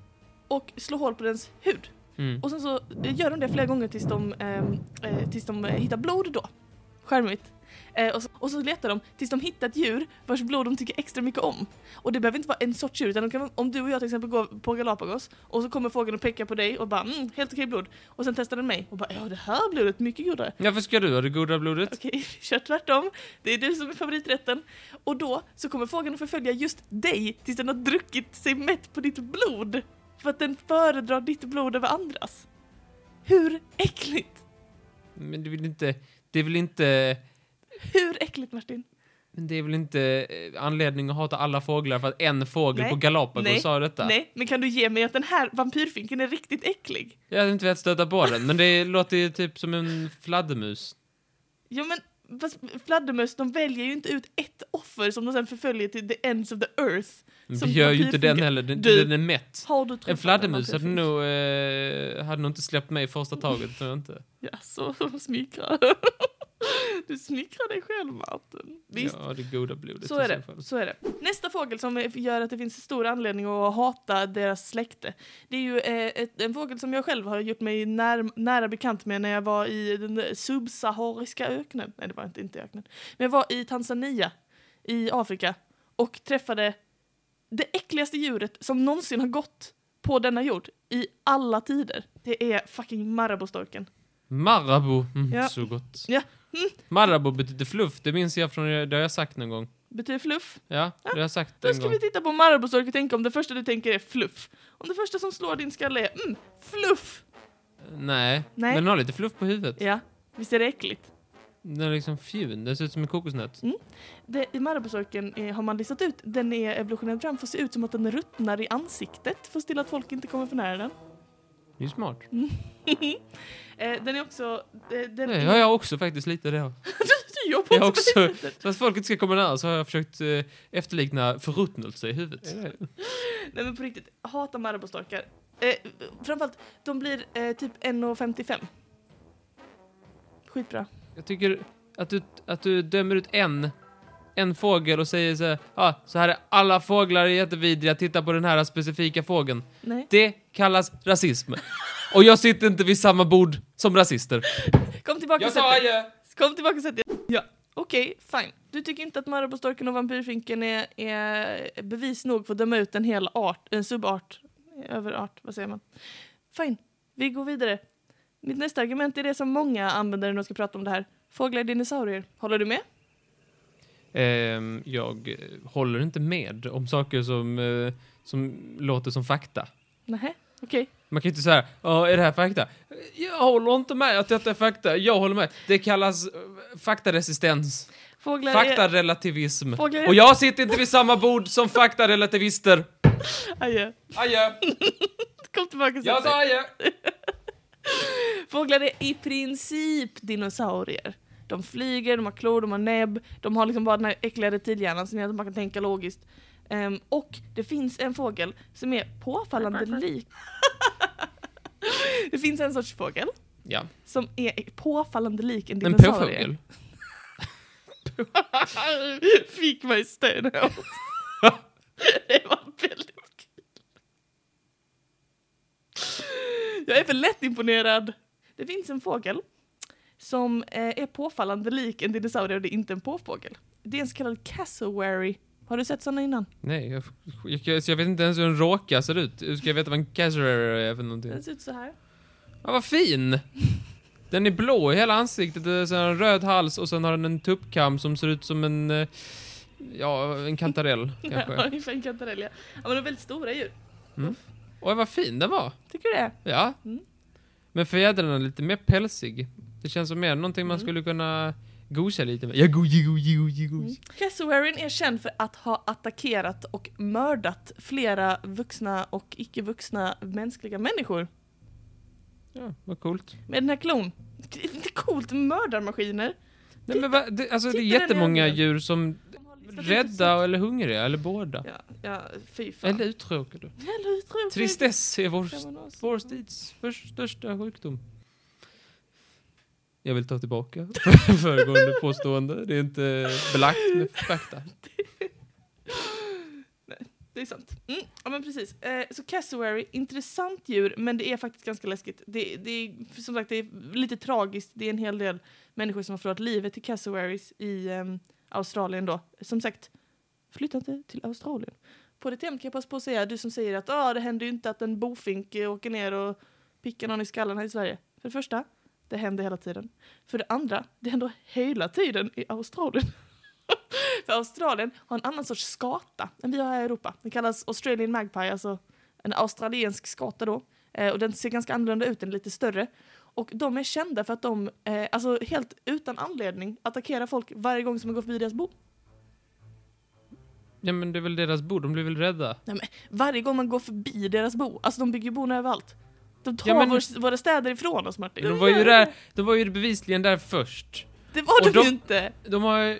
[SPEAKER 1] och slår hål på dens hud.
[SPEAKER 2] Mm.
[SPEAKER 1] Och sen så eh, gör de det flera gånger tills de, ehm, eh, tills de eh, hittar blod då. Charmigt. Eh, och, så, och så letar de tills de hittar ett djur vars blod de tycker extra mycket om. Och det behöver inte vara en sorts djur, utan de kan, om du och jag till exempel går på Galapagos och så kommer fågeln och pekar på dig och bara mm, helt okej blod. Och sen testar den mig och bara ja det här blodet är mycket godare.
[SPEAKER 2] Ja, för ska du ha det goda
[SPEAKER 1] (laughs)
[SPEAKER 2] blodet?
[SPEAKER 1] Okej, kör tvärtom. Det är du som är favoriträtten. Och då så kommer fågeln att förfölja just dig tills den har druckit sig mätt på ditt blod. För att den föredrar ditt blod över andras. Hur äckligt!
[SPEAKER 2] Men det vill inte... Det är väl inte...
[SPEAKER 1] Hur äckligt Martin?
[SPEAKER 2] Men det är väl inte eh, anledning att hata alla fåglar för att en fågel
[SPEAKER 1] Nej.
[SPEAKER 2] på Galapagos
[SPEAKER 1] Nej.
[SPEAKER 2] sa detta?
[SPEAKER 1] Nej, men kan du ge mig att den här vampyrfinken är riktigt äcklig?
[SPEAKER 2] Jag hade inte velat stöta på den, men det låter ju typ som en fladdermus.
[SPEAKER 1] Ja men fast fladdermöss de väljer ju inte ut ett offer som de sen förföljer till the ends of the earth.
[SPEAKER 2] Men
[SPEAKER 1] Som
[SPEAKER 2] Vi gör ju inte den
[SPEAKER 1] vampyrfinken.
[SPEAKER 2] heller, den,
[SPEAKER 1] Du-
[SPEAKER 2] den är mätt.
[SPEAKER 1] Har du träffat
[SPEAKER 2] En fladdermus hade
[SPEAKER 1] vampyrfink?
[SPEAKER 2] nog, eh, hade nog inte släppt mig i första taget, tror jag inte.
[SPEAKER 1] Ja, så smickrar. (laughs) Du smickrar dig själv Martin. Visst,
[SPEAKER 2] Ja, det goda blodet
[SPEAKER 1] så, är
[SPEAKER 2] i så
[SPEAKER 1] det,
[SPEAKER 2] fall.
[SPEAKER 1] så är det. Nästa fågel som är- gör att det finns stor anledning att hata deras släkte. Det är ju eh, ett, en fågel som jag själv har gjort mig när, nära bekant med när jag var i den där subsahariska öknen. Nej, det var inte, inte öknen. Men jag var i Tanzania i Afrika och träffade det äckligaste djuret som någonsin har gått på denna jord i alla tider. Det är fucking marabostorken.
[SPEAKER 2] Marabou, mm,
[SPEAKER 1] Ja.
[SPEAKER 2] så gott.
[SPEAKER 1] Ja.
[SPEAKER 2] Marabou betyder fluff, det minns jag från, det har jag sagt någon gång.
[SPEAKER 1] Betyder fluff.
[SPEAKER 2] Ja, det har jag sagt
[SPEAKER 1] Då
[SPEAKER 2] en
[SPEAKER 1] ska
[SPEAKER 2] gång.
[SPEAKER 1] vi titta på Marabostork och tänka om det första du tänker är fluff. Om det första som slår din skalle är mm, fluff.
[SPEAKER 2] Nej.
[SPEAKER 1] Nej.
[SPEAKER 2] men den har lite fluff på huvudet.
[SPEAKER 1] Ja, visst är det äckligt?
[SPEAKER 2] Den är liksom fjun, den ser ut som en kokosnöt.
[SPEAKER 1] Det, I Marabostorken eh, har man listat ut, den är evolutionerad fram för att se ut som att den ruttnar i ansiktet för att till att folk inte kommer för nära den. (laughs)
[SPEAKER 2] Det är ju smart.
[SPEAKER 1] eh, den är också... Eh, den
[SPEAKER 2] Det
[SPEAKER 1] är,
[SPEAKER 2] har jag också faktiskt lite det. här.
[SPEAKER 1] Du jobbar
[SPEAKER 2] Jag har
[SPEAKER 1] inte på det
[SPEAKER 2] också,
[SPEAKER 1] sättet.
[SPEAKER 2] så att folk inte ska komma nära så har jag försökt eh, efterlikna förruttnelse i huvudet.
[SPEAKER 1] (laughs) Nej men på riktigt, hata Marabostorkar. Eh, framförallt, de blir eh, typ 1,55. Skitbra.
[SPEAKER 2] Jag tycker att du, att du dömer ut en, en fågel och säger så här, ah, så här är alla fåglar är jättevidriga, titta på den här specifika fågeln.
[SPEAKER 1] Nej.
[SPEAKER 2] Det kallas rasism. Och jag sitter inte vid samma bord som rasister.
[SPEAKER 1] Kom tillbaka
[SPEAKER 2] Jag
[SPEAKER 1] sätt
[SPEAKER 2] sa
[SPEAKER 1] dig.
[SPEAKER 2] ju!
[SPEAKER 1] Kom tillbaka och sätt dig. Ja. Okej, fine. Du tycker inte att marabostorken och vampyrfinken är, är bevis nog för att döma ut en hel art, en subart, överart, vad säger man? Fine, vi går vidare. Mitt nästa argument är det som många använder när de ska prata om det här. Fåglar är dinosaurier. Håller du med?
[SPEAKER 2] Ehm, jag eh, håller inte med om saker som, eh, som låter som fakta.
[SPEAKER 1] Nej, okej.
[SPEAKER 2] Man kan ju inte säga, ja, är det här fakta? Jag håller inte med att detta är fakta. Jag håller med. Det kallas eh, faktaresistens.
[SPEAKER 1] Fåglar är...
[SPEAKER 2] Faktarelativism.
[SPEAKER 1] Fåglar är-
[SPEAKER 2] Och jag sitter inte vid samma bord som faktarelativister.
[SPEAKER 1] Adjö.
[SPEAKER 2] Adjö.
[SPEAKER 1] Kom tillbaka och
[SPEAKER 2] Jag
[SPEAKER 1] sätt dig.
[SPEAKER 2] sa adjö.
[SPEAKER 1] Fåglar är i princip dinosaurier. De flyger, de har klor, de har näbb, de har liksom bara den här äckliga reptilhjärnan som gör att man kan tänka logiskt. Ehm, och det finns en fågel som är påfallande lik... (laughs) det finns en sorts fågel
[SPEAKER 2] Ja,
[SPEAKER 1] som är påfallande lik en
[SPEAKER 2] en
[SPEAKER 1] dinosaurie.
[SPEAKER 2] påfågel.
[SPEAKER 1] (laughs) Fick mig stenhårt. (laughs) det var väldigt kul. Jag är för lättimponerad. Det finns en fågel som eh, är påfallande lik en dinosaurie och det är inte en påfågel. Det är en så kallad cassowary. Har du sett såna innan?
[SPEAKER 2] Nej, jag, jag, så jag vet inte ens hur en råka ser ut. Hur ska jag veta vad en casuary är för någonting?
[SPEAKER 1] Den ser ut så här.
[SPEAKER 2] Ja, vad fin! Den är blå i hela ansiktet, och sen har den röd hals och sen har den en tuppkam som ser ut som en... eh, Ja,
[SPEAKER 1] (laughs)
[SPEAKER 2] en kantarell kanske.
[SPEAKER 1] Ungefär en kantarell, ja. Ja, men de är väldigt stora djur.
[SPEAKER 2] Oj, vad fin den var!
[SPEAKER 1] Tycker du det?
[SPEAKER 2] Ja.
[SPEAKER 1] Mm.
[SPEAKER 2] Men fjädrarna är lite mer pälsig. Det känns som mer någonting
[SPEAKER 1] Mm.
[SPEAKER 2] man skulle kunna gosa lite med. Ja, goji, goji, goji,
[SPEAKER 1] Mm.
[SPEAKER 2] goji.
[SPEAKER 1] Cassowarin är känd för att ha attackerat och mördat flera vuxna och icke-vuxna mänskliga människor.
[SPEAKER 2] Ja, vad coolt.
[SPEAKER 1] Med den här klon. Det är inte coolt, mördarmaskiner.
[SPEAKER 2] Nej, men va, det, alltså, det är
[SPEAKER 1] titta den
[SPEAKER 2] jättemånga
[SPEAKER 1] ögonen.
[SPEAKER 2] djur som
[SPEAKER 1] De har listat ut hur
[SPEAKER 2] rädda eller hungriga, eller båda.
[SPEAKER 1] det ser ut. Ja, ja, fy fan.
[SPEAKER 2] Eller uttråkade.
[SPEAKER 1] Eller hur tror jag-
[SPEAKER 2] Tristess är vår
[SPEAKER 1] Kan man också-
[SPEAKER 2] Vår tids för- största sjukdom. Jag vill ta tillbaka (laughs) föregående påstående. Det är inte belagt med fakta.
[SPEAKER 1] Det är sant. Mm, ja men precis. Eh, så cassowary, intressant djur men det är faktiskt ganska läskigt. Det, det är som sagt det är lite tragiskt. Det är en hel del människor som har förlorat livet till cassowaries i ehm, Australien då. Som sagt, flytta inte till Australien. På det temat kan jag passa på att säga, du som säger att ah, det händer ju inte att en bofink eh, åker ner och pickar någon i skallen här i Sverige. För det första, det händer hela tiden. För det andra, det händer hela tiden i Australien. För Australien har en annan sorts skata än vi har här i Europa. Den kallas Australian Magpie, alltså en australiensk skata då. Eh, och den ser ganska annorlunda ut, den är lite större. Och de är kända för att de, eh, alltså helt utan anledning, attackerar folk varje gång som de går förbi deras bo.
[SPEAKER 2] Ja, men det är väl deras bord, de blir väl rädda?
[SPEAKER 1] Varje gång man går förbi deras bo. Alltså de bygger ju bon överallt. De tar
[SPEAKER 2] Ja, men-
[SPEAKER 1] vår, våra städer ifrån oss Martin.
[SPEAKER 2] De var ju där, de var ju bevisligen där först.
[SPEAKER 1] Det var
[SPEAKER 2] och
[SPEAKER 1] de ju
[SPEAKER 2] de-
[SPEAKER 1] inte! Mm.
[SPEAKER 2] De har,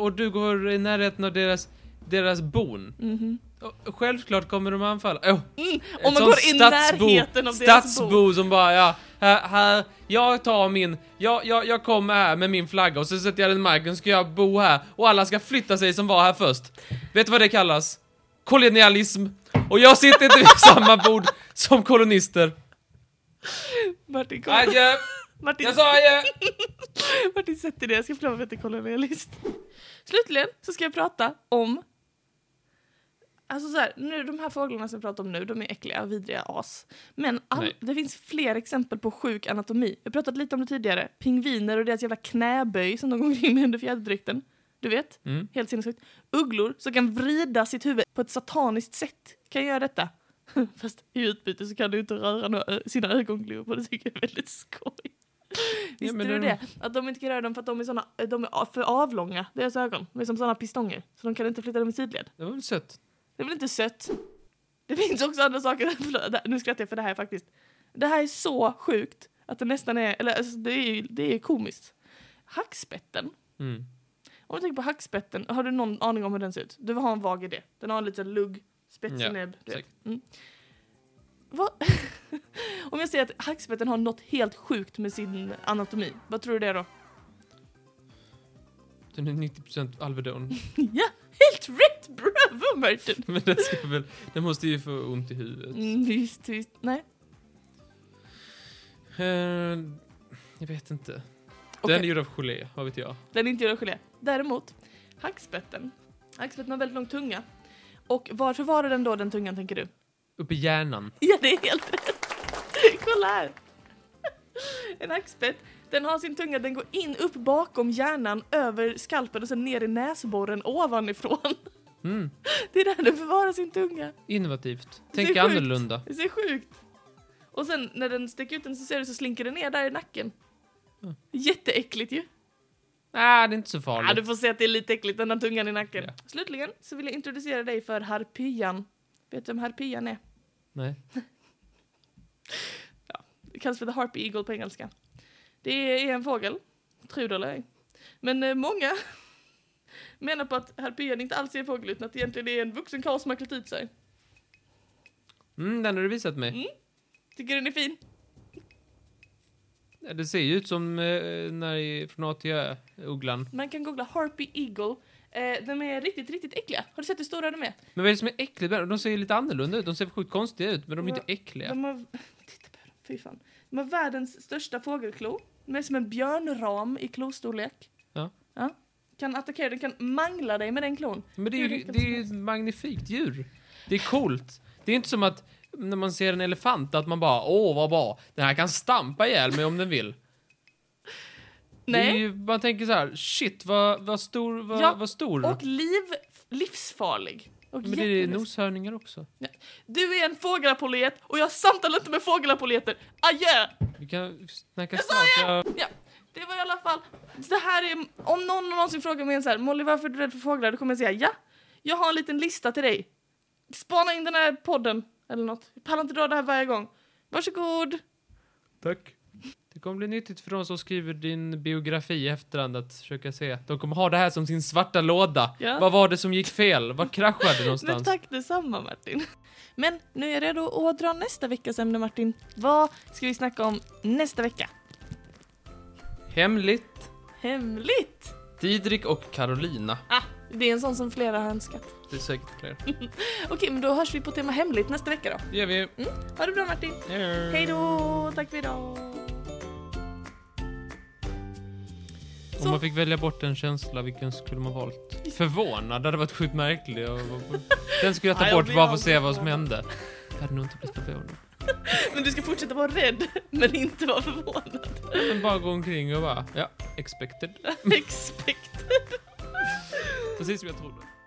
[SPEAKER 2] och du går i närheten av deras, deras bon.
[SPEAKER 1] Mhm.
[SPEAKER 2] Och självklart kommer de anfalla. Åh,
[SPEAKER 1] Mm.
[SPEAKER 2] ett
[SPEAKER 1] Om man
[SPEAKER 2] sånt
[SPEAKER 1] går i närheten av deras bo.
[SPEAKER 2] Stadsbo som bara, ja, här, här, jag tar min, jag, jag, jag kommer här med min flagga och så sätter jag den i marken, ska jag bo här och alla ska flytta sig som var här först. Vet du vad det kallas? Kolonialism. Och jag sitter inte vid (laughs) samma bord som kolonister.
[SPEAKER 1] Martin, kolla.
[SPEAKER 2] Adjö!
[SPEAKER 1] Martin,
[SPEAKER 2] Jag sa
[SPEAKER 1] (laughs)
[SPEAKER 2] adjö!
[SPEAKER 1] Martin sätter det, jag ska prova att kolla min list. Slutligen så ska jag prata om... Alltså så här, nu, de här fåglarna som jag pratar om nu, de är äckliga, vidriga as. Men all,
[SPEAKER 2] Nej.
[SPEAKER 1] det finns fler exempel på sjuk anatomi. Jag har pratat lite om det tidigare. Pingviner och deras jävla knäböj som de går omkring med under fjäderdräkten. Du vet?
[SPEAKER 2] Mm.
[SPEAKER 1] Helt sinnessjukt. Ugglor som kan vrida sitt huvud på ett sataniskt sätt kan göra detta. (laughs) Fast i utbyte så kan du inte röra några, ö- sina ögonglobor, det tycker jag är väldigt
[SPEAKER 2] (laughs)
[SPEAKER 1] skoj. Visste
[SPEAKER 2] men
[SPEAKER 1] du
[SPEAKER 2] de-
[SPEAKER 1] det? Att de inte kan röra dem för att de är, såna, de är för avlånga, deras ögon. De är som såna pistonger, så de kan inte flytta dem i sidled.
[SPEAKER 2] Det var väl sött?
[SPEAKER 1] Det är väl inte sött? Det finns också andra saker, (laughs) Förlåt, det- nu skrattar jag för det här faktiskt. Det här är så sjukt att det nästan är, eller alltså, det är ju det är komiskt. Hackspetten
[SPEAKER 2] Mm.
[SPEAKER 1] om du tänker på hackspetten, har du någon aning om hur den ser ut? Du har en vag idé. Den har en liten lugg, spetsig
[SPEAKER 2] Ja,
[SPEAKER 1] näbb. du vet.
[SPEAKER 2] säkert.
[SPEAKER 1] Mm. Vad- (laughs) om jag säger att hackspetten har något helt sjukt med sin anatomi, vad tror du det är då? (laughs)
[SPEAKER 2] Den är 90%
[SPEAKER 1] (laughs)
[SPEAKER 2] Alvedon. (laughs)
[SPEAKER 1] ja, helt rätt! Bravo Martin!
[SPEAKER 2] Men den ska väl, den måste ju få ont i huvudet.
[SPEAKER 1] Mm, visst, visst. Nej.
[SPEAKER 2] Eh, jag vet inte.
[SPEAKER 1] Okej.
[SPEAKER 2] Den är gjord av gelé, vad vet jag.
[SPEAKER 1] Den är inte gjord av gelé. Däremot, hackspetten. Hackspetten har väldigt lång tunga. Och varför var det den då, den tungan, tänker du?
[SPEAKER 2] Uppe i hjärnan.
[SPEAKER 1] Ja, det är helt rätt. Kolla här. En hackspett. Den har sin tunga, den går in upp bakom hjärnan, över skalpen och sen ner i näsborren ovanifrån.
[SPEAKER 2] Mm.
[SPEAKER 1] Det är där den förvarar sin tunga.
[SPEAKER 2] Innovativt.
[SPEAKER 1] Det är
[SPEAKER 2] Tänk
[SPEAKER 1] sjukt.
[SPEAKER 2] annorlunda.
[SPEAKER 1] Det är så sjukt. Och sen när den sticker ut den så ser du så slinker den ner där i nacken.
[SPEAKER 2] Ja.
[SPEAKER 1] Jätteäckligt ju.
[SPEAKER 2] Nej, Ah, det är inte så farligt.
[SPEAKER 1] Ja, du får se att det är lite äckligt, den har tungan i nacken.
[SPEAKER 2] Ja.
[SPEAKER 1] Slutligen så vill jag introducera dig för harpian. Vet du vem harpian är?
[SPEAKER 2] Nej.
[SPEAKER 1] Det kallas för the harpy eagle på engelska. Det är en fågel, tror det eller ej. Men eh, många (laughs) menar på att harpyen inte alls är en fågel utan att det egentligen är en vuxen karl som har klätt ut sig.
[SPEAKER 2] Mm, den har du visat mig.
[SPEAKER 1] Mm. Tycker den är fin? Mm.
[SPEAKER 2] Ja, Det ser ju ut som eh, när i- från A till Ö, ugglan.
[SPEAKER 1] Man kan googla harpy eagle. Eh, de är riktigt, riktigt äckliga. Har du sett hur stora de är?
[SPEAKER 2] Men vad är det som är äckligt med dem? De ser ju lite annorlunda ut. De ser sjukt konstiga ut, men de är inte äckliga.
[SPEAKER 1] De har... (laughs) Titta på dem, fy fan. De har världens största fågelklo. De är som en björnram i klostorlek.
[SPEAKER 2] Ja.
[SPEAKER 1] ja. Kan attackera, den kan mangla dig med den klon.
[SPEAKER 2] Men det är ju, det är ju ett magnifikt djur. Det är coolt. Det är inte som att när man ser en elefant att man bara åh vad bra, den här kan stampa ihjäl mig om den vill. Det är
[SPEAKER 1] Nej.
[SPEAKER 2] ju, man tänker så här, shit vad, vad stor, vad,
[SPEAKER 1] Ja,
[SPEAKER 2] vad stor.
[SPEAKER 1] Och liv, livsfarlig. Och
[SPEAKER 2] men det är
[SPEAKER 1] jätteläskig.
[SPEAKER 2] noshörningar också.
[SPEAKER 1] Du är en fågelapollet och jag samtalar inte med fågelapolleter. Adjö!
[SPEAKER 2] Vi kan snacka
[SPEAKER 1] Jag sa
[SPEAKER 2] snart. Jag,
[SPEAKER 1] Det var i alla fall... Det här är, om någon någonsin frågar mig så här, Molly varför är du rädd för fåglar? Då kommer jag säga ja. Jag har en liten lista till dig. Spana in den här podden eller något. Jag pallar inte dra det här varje gång. Varsågod.
[SPEAKER 2] Tack. Det kommer bli nyttigt för de som skriver din biografi i efterhand att försöka se. De kommer ha det här som sin svarta låda.
[SPEAKER 1] Ja.
[SPEAKER 2] Vad var det som gick fel? Var kraschade
[SPEAKER 1] (laughs)
[SPEAKER 2] det
[SPEAKER 1] Men
[SPEAKER 2] någonstans?
[SPEAKER 1] tack detsamma Martin. Men nu är jag redo att dra nästa veckas ämne Martin. Vad ska vi snacka om nästa vecka?
[SPEAKER 2] Hemligt.
[SPEAKER 1] Hemligt!
[SPEAKER 2] Didrik och Carolina.
[SPEAKER 1] Ah, det är en sån som flera har önskat.
[SPEAKER 2] Det är säkert fler.
[SPEAKER 1] Okej, men då hörs vi på tema hemligt nästa vecka då.
[SPEAKER 2] Det gör vi.
[SPEAKER 1] Ha det bra Martin!
[SPEAKER 2] Yeah.
[SPEAKER 1] Mm. Hej då! Tack för idag!
[SPEAKER 2] Om man
[SPEAKER 1] Så,
[SPEAKER 2] fick välja bort en känsla, vilken skulle man valt? Förvånad, det hade varit sjukt
[SPEAKER 1] (laughs)
[SPEAKER 2] märkligt. och- Den skulle jag
[SPEAKER 1] Nej,
[SPEAKER 2] ta
[SPEAKER 1] jag
[SPEAKER 2] bort
[SPEAKER 1] blir
[SPEAKER 2] bara för att
[SPEAKER 1] aldrig
[SPEAKER 2] se vad som
[SPEAKER 1] förvånad.
[SPEAKER 2] hände. Jag hade nog inte blivit förvånad.
[SPEAKER 1] men du ska fortsätta vara rädd, (laughs) men inte vara förvånad.
[SPEAKER 2] Men bara gå omkring och bara, ja, expected.
[SPEAKER 1] Expected.
[SPEAKER 2] Precis som jag trodde.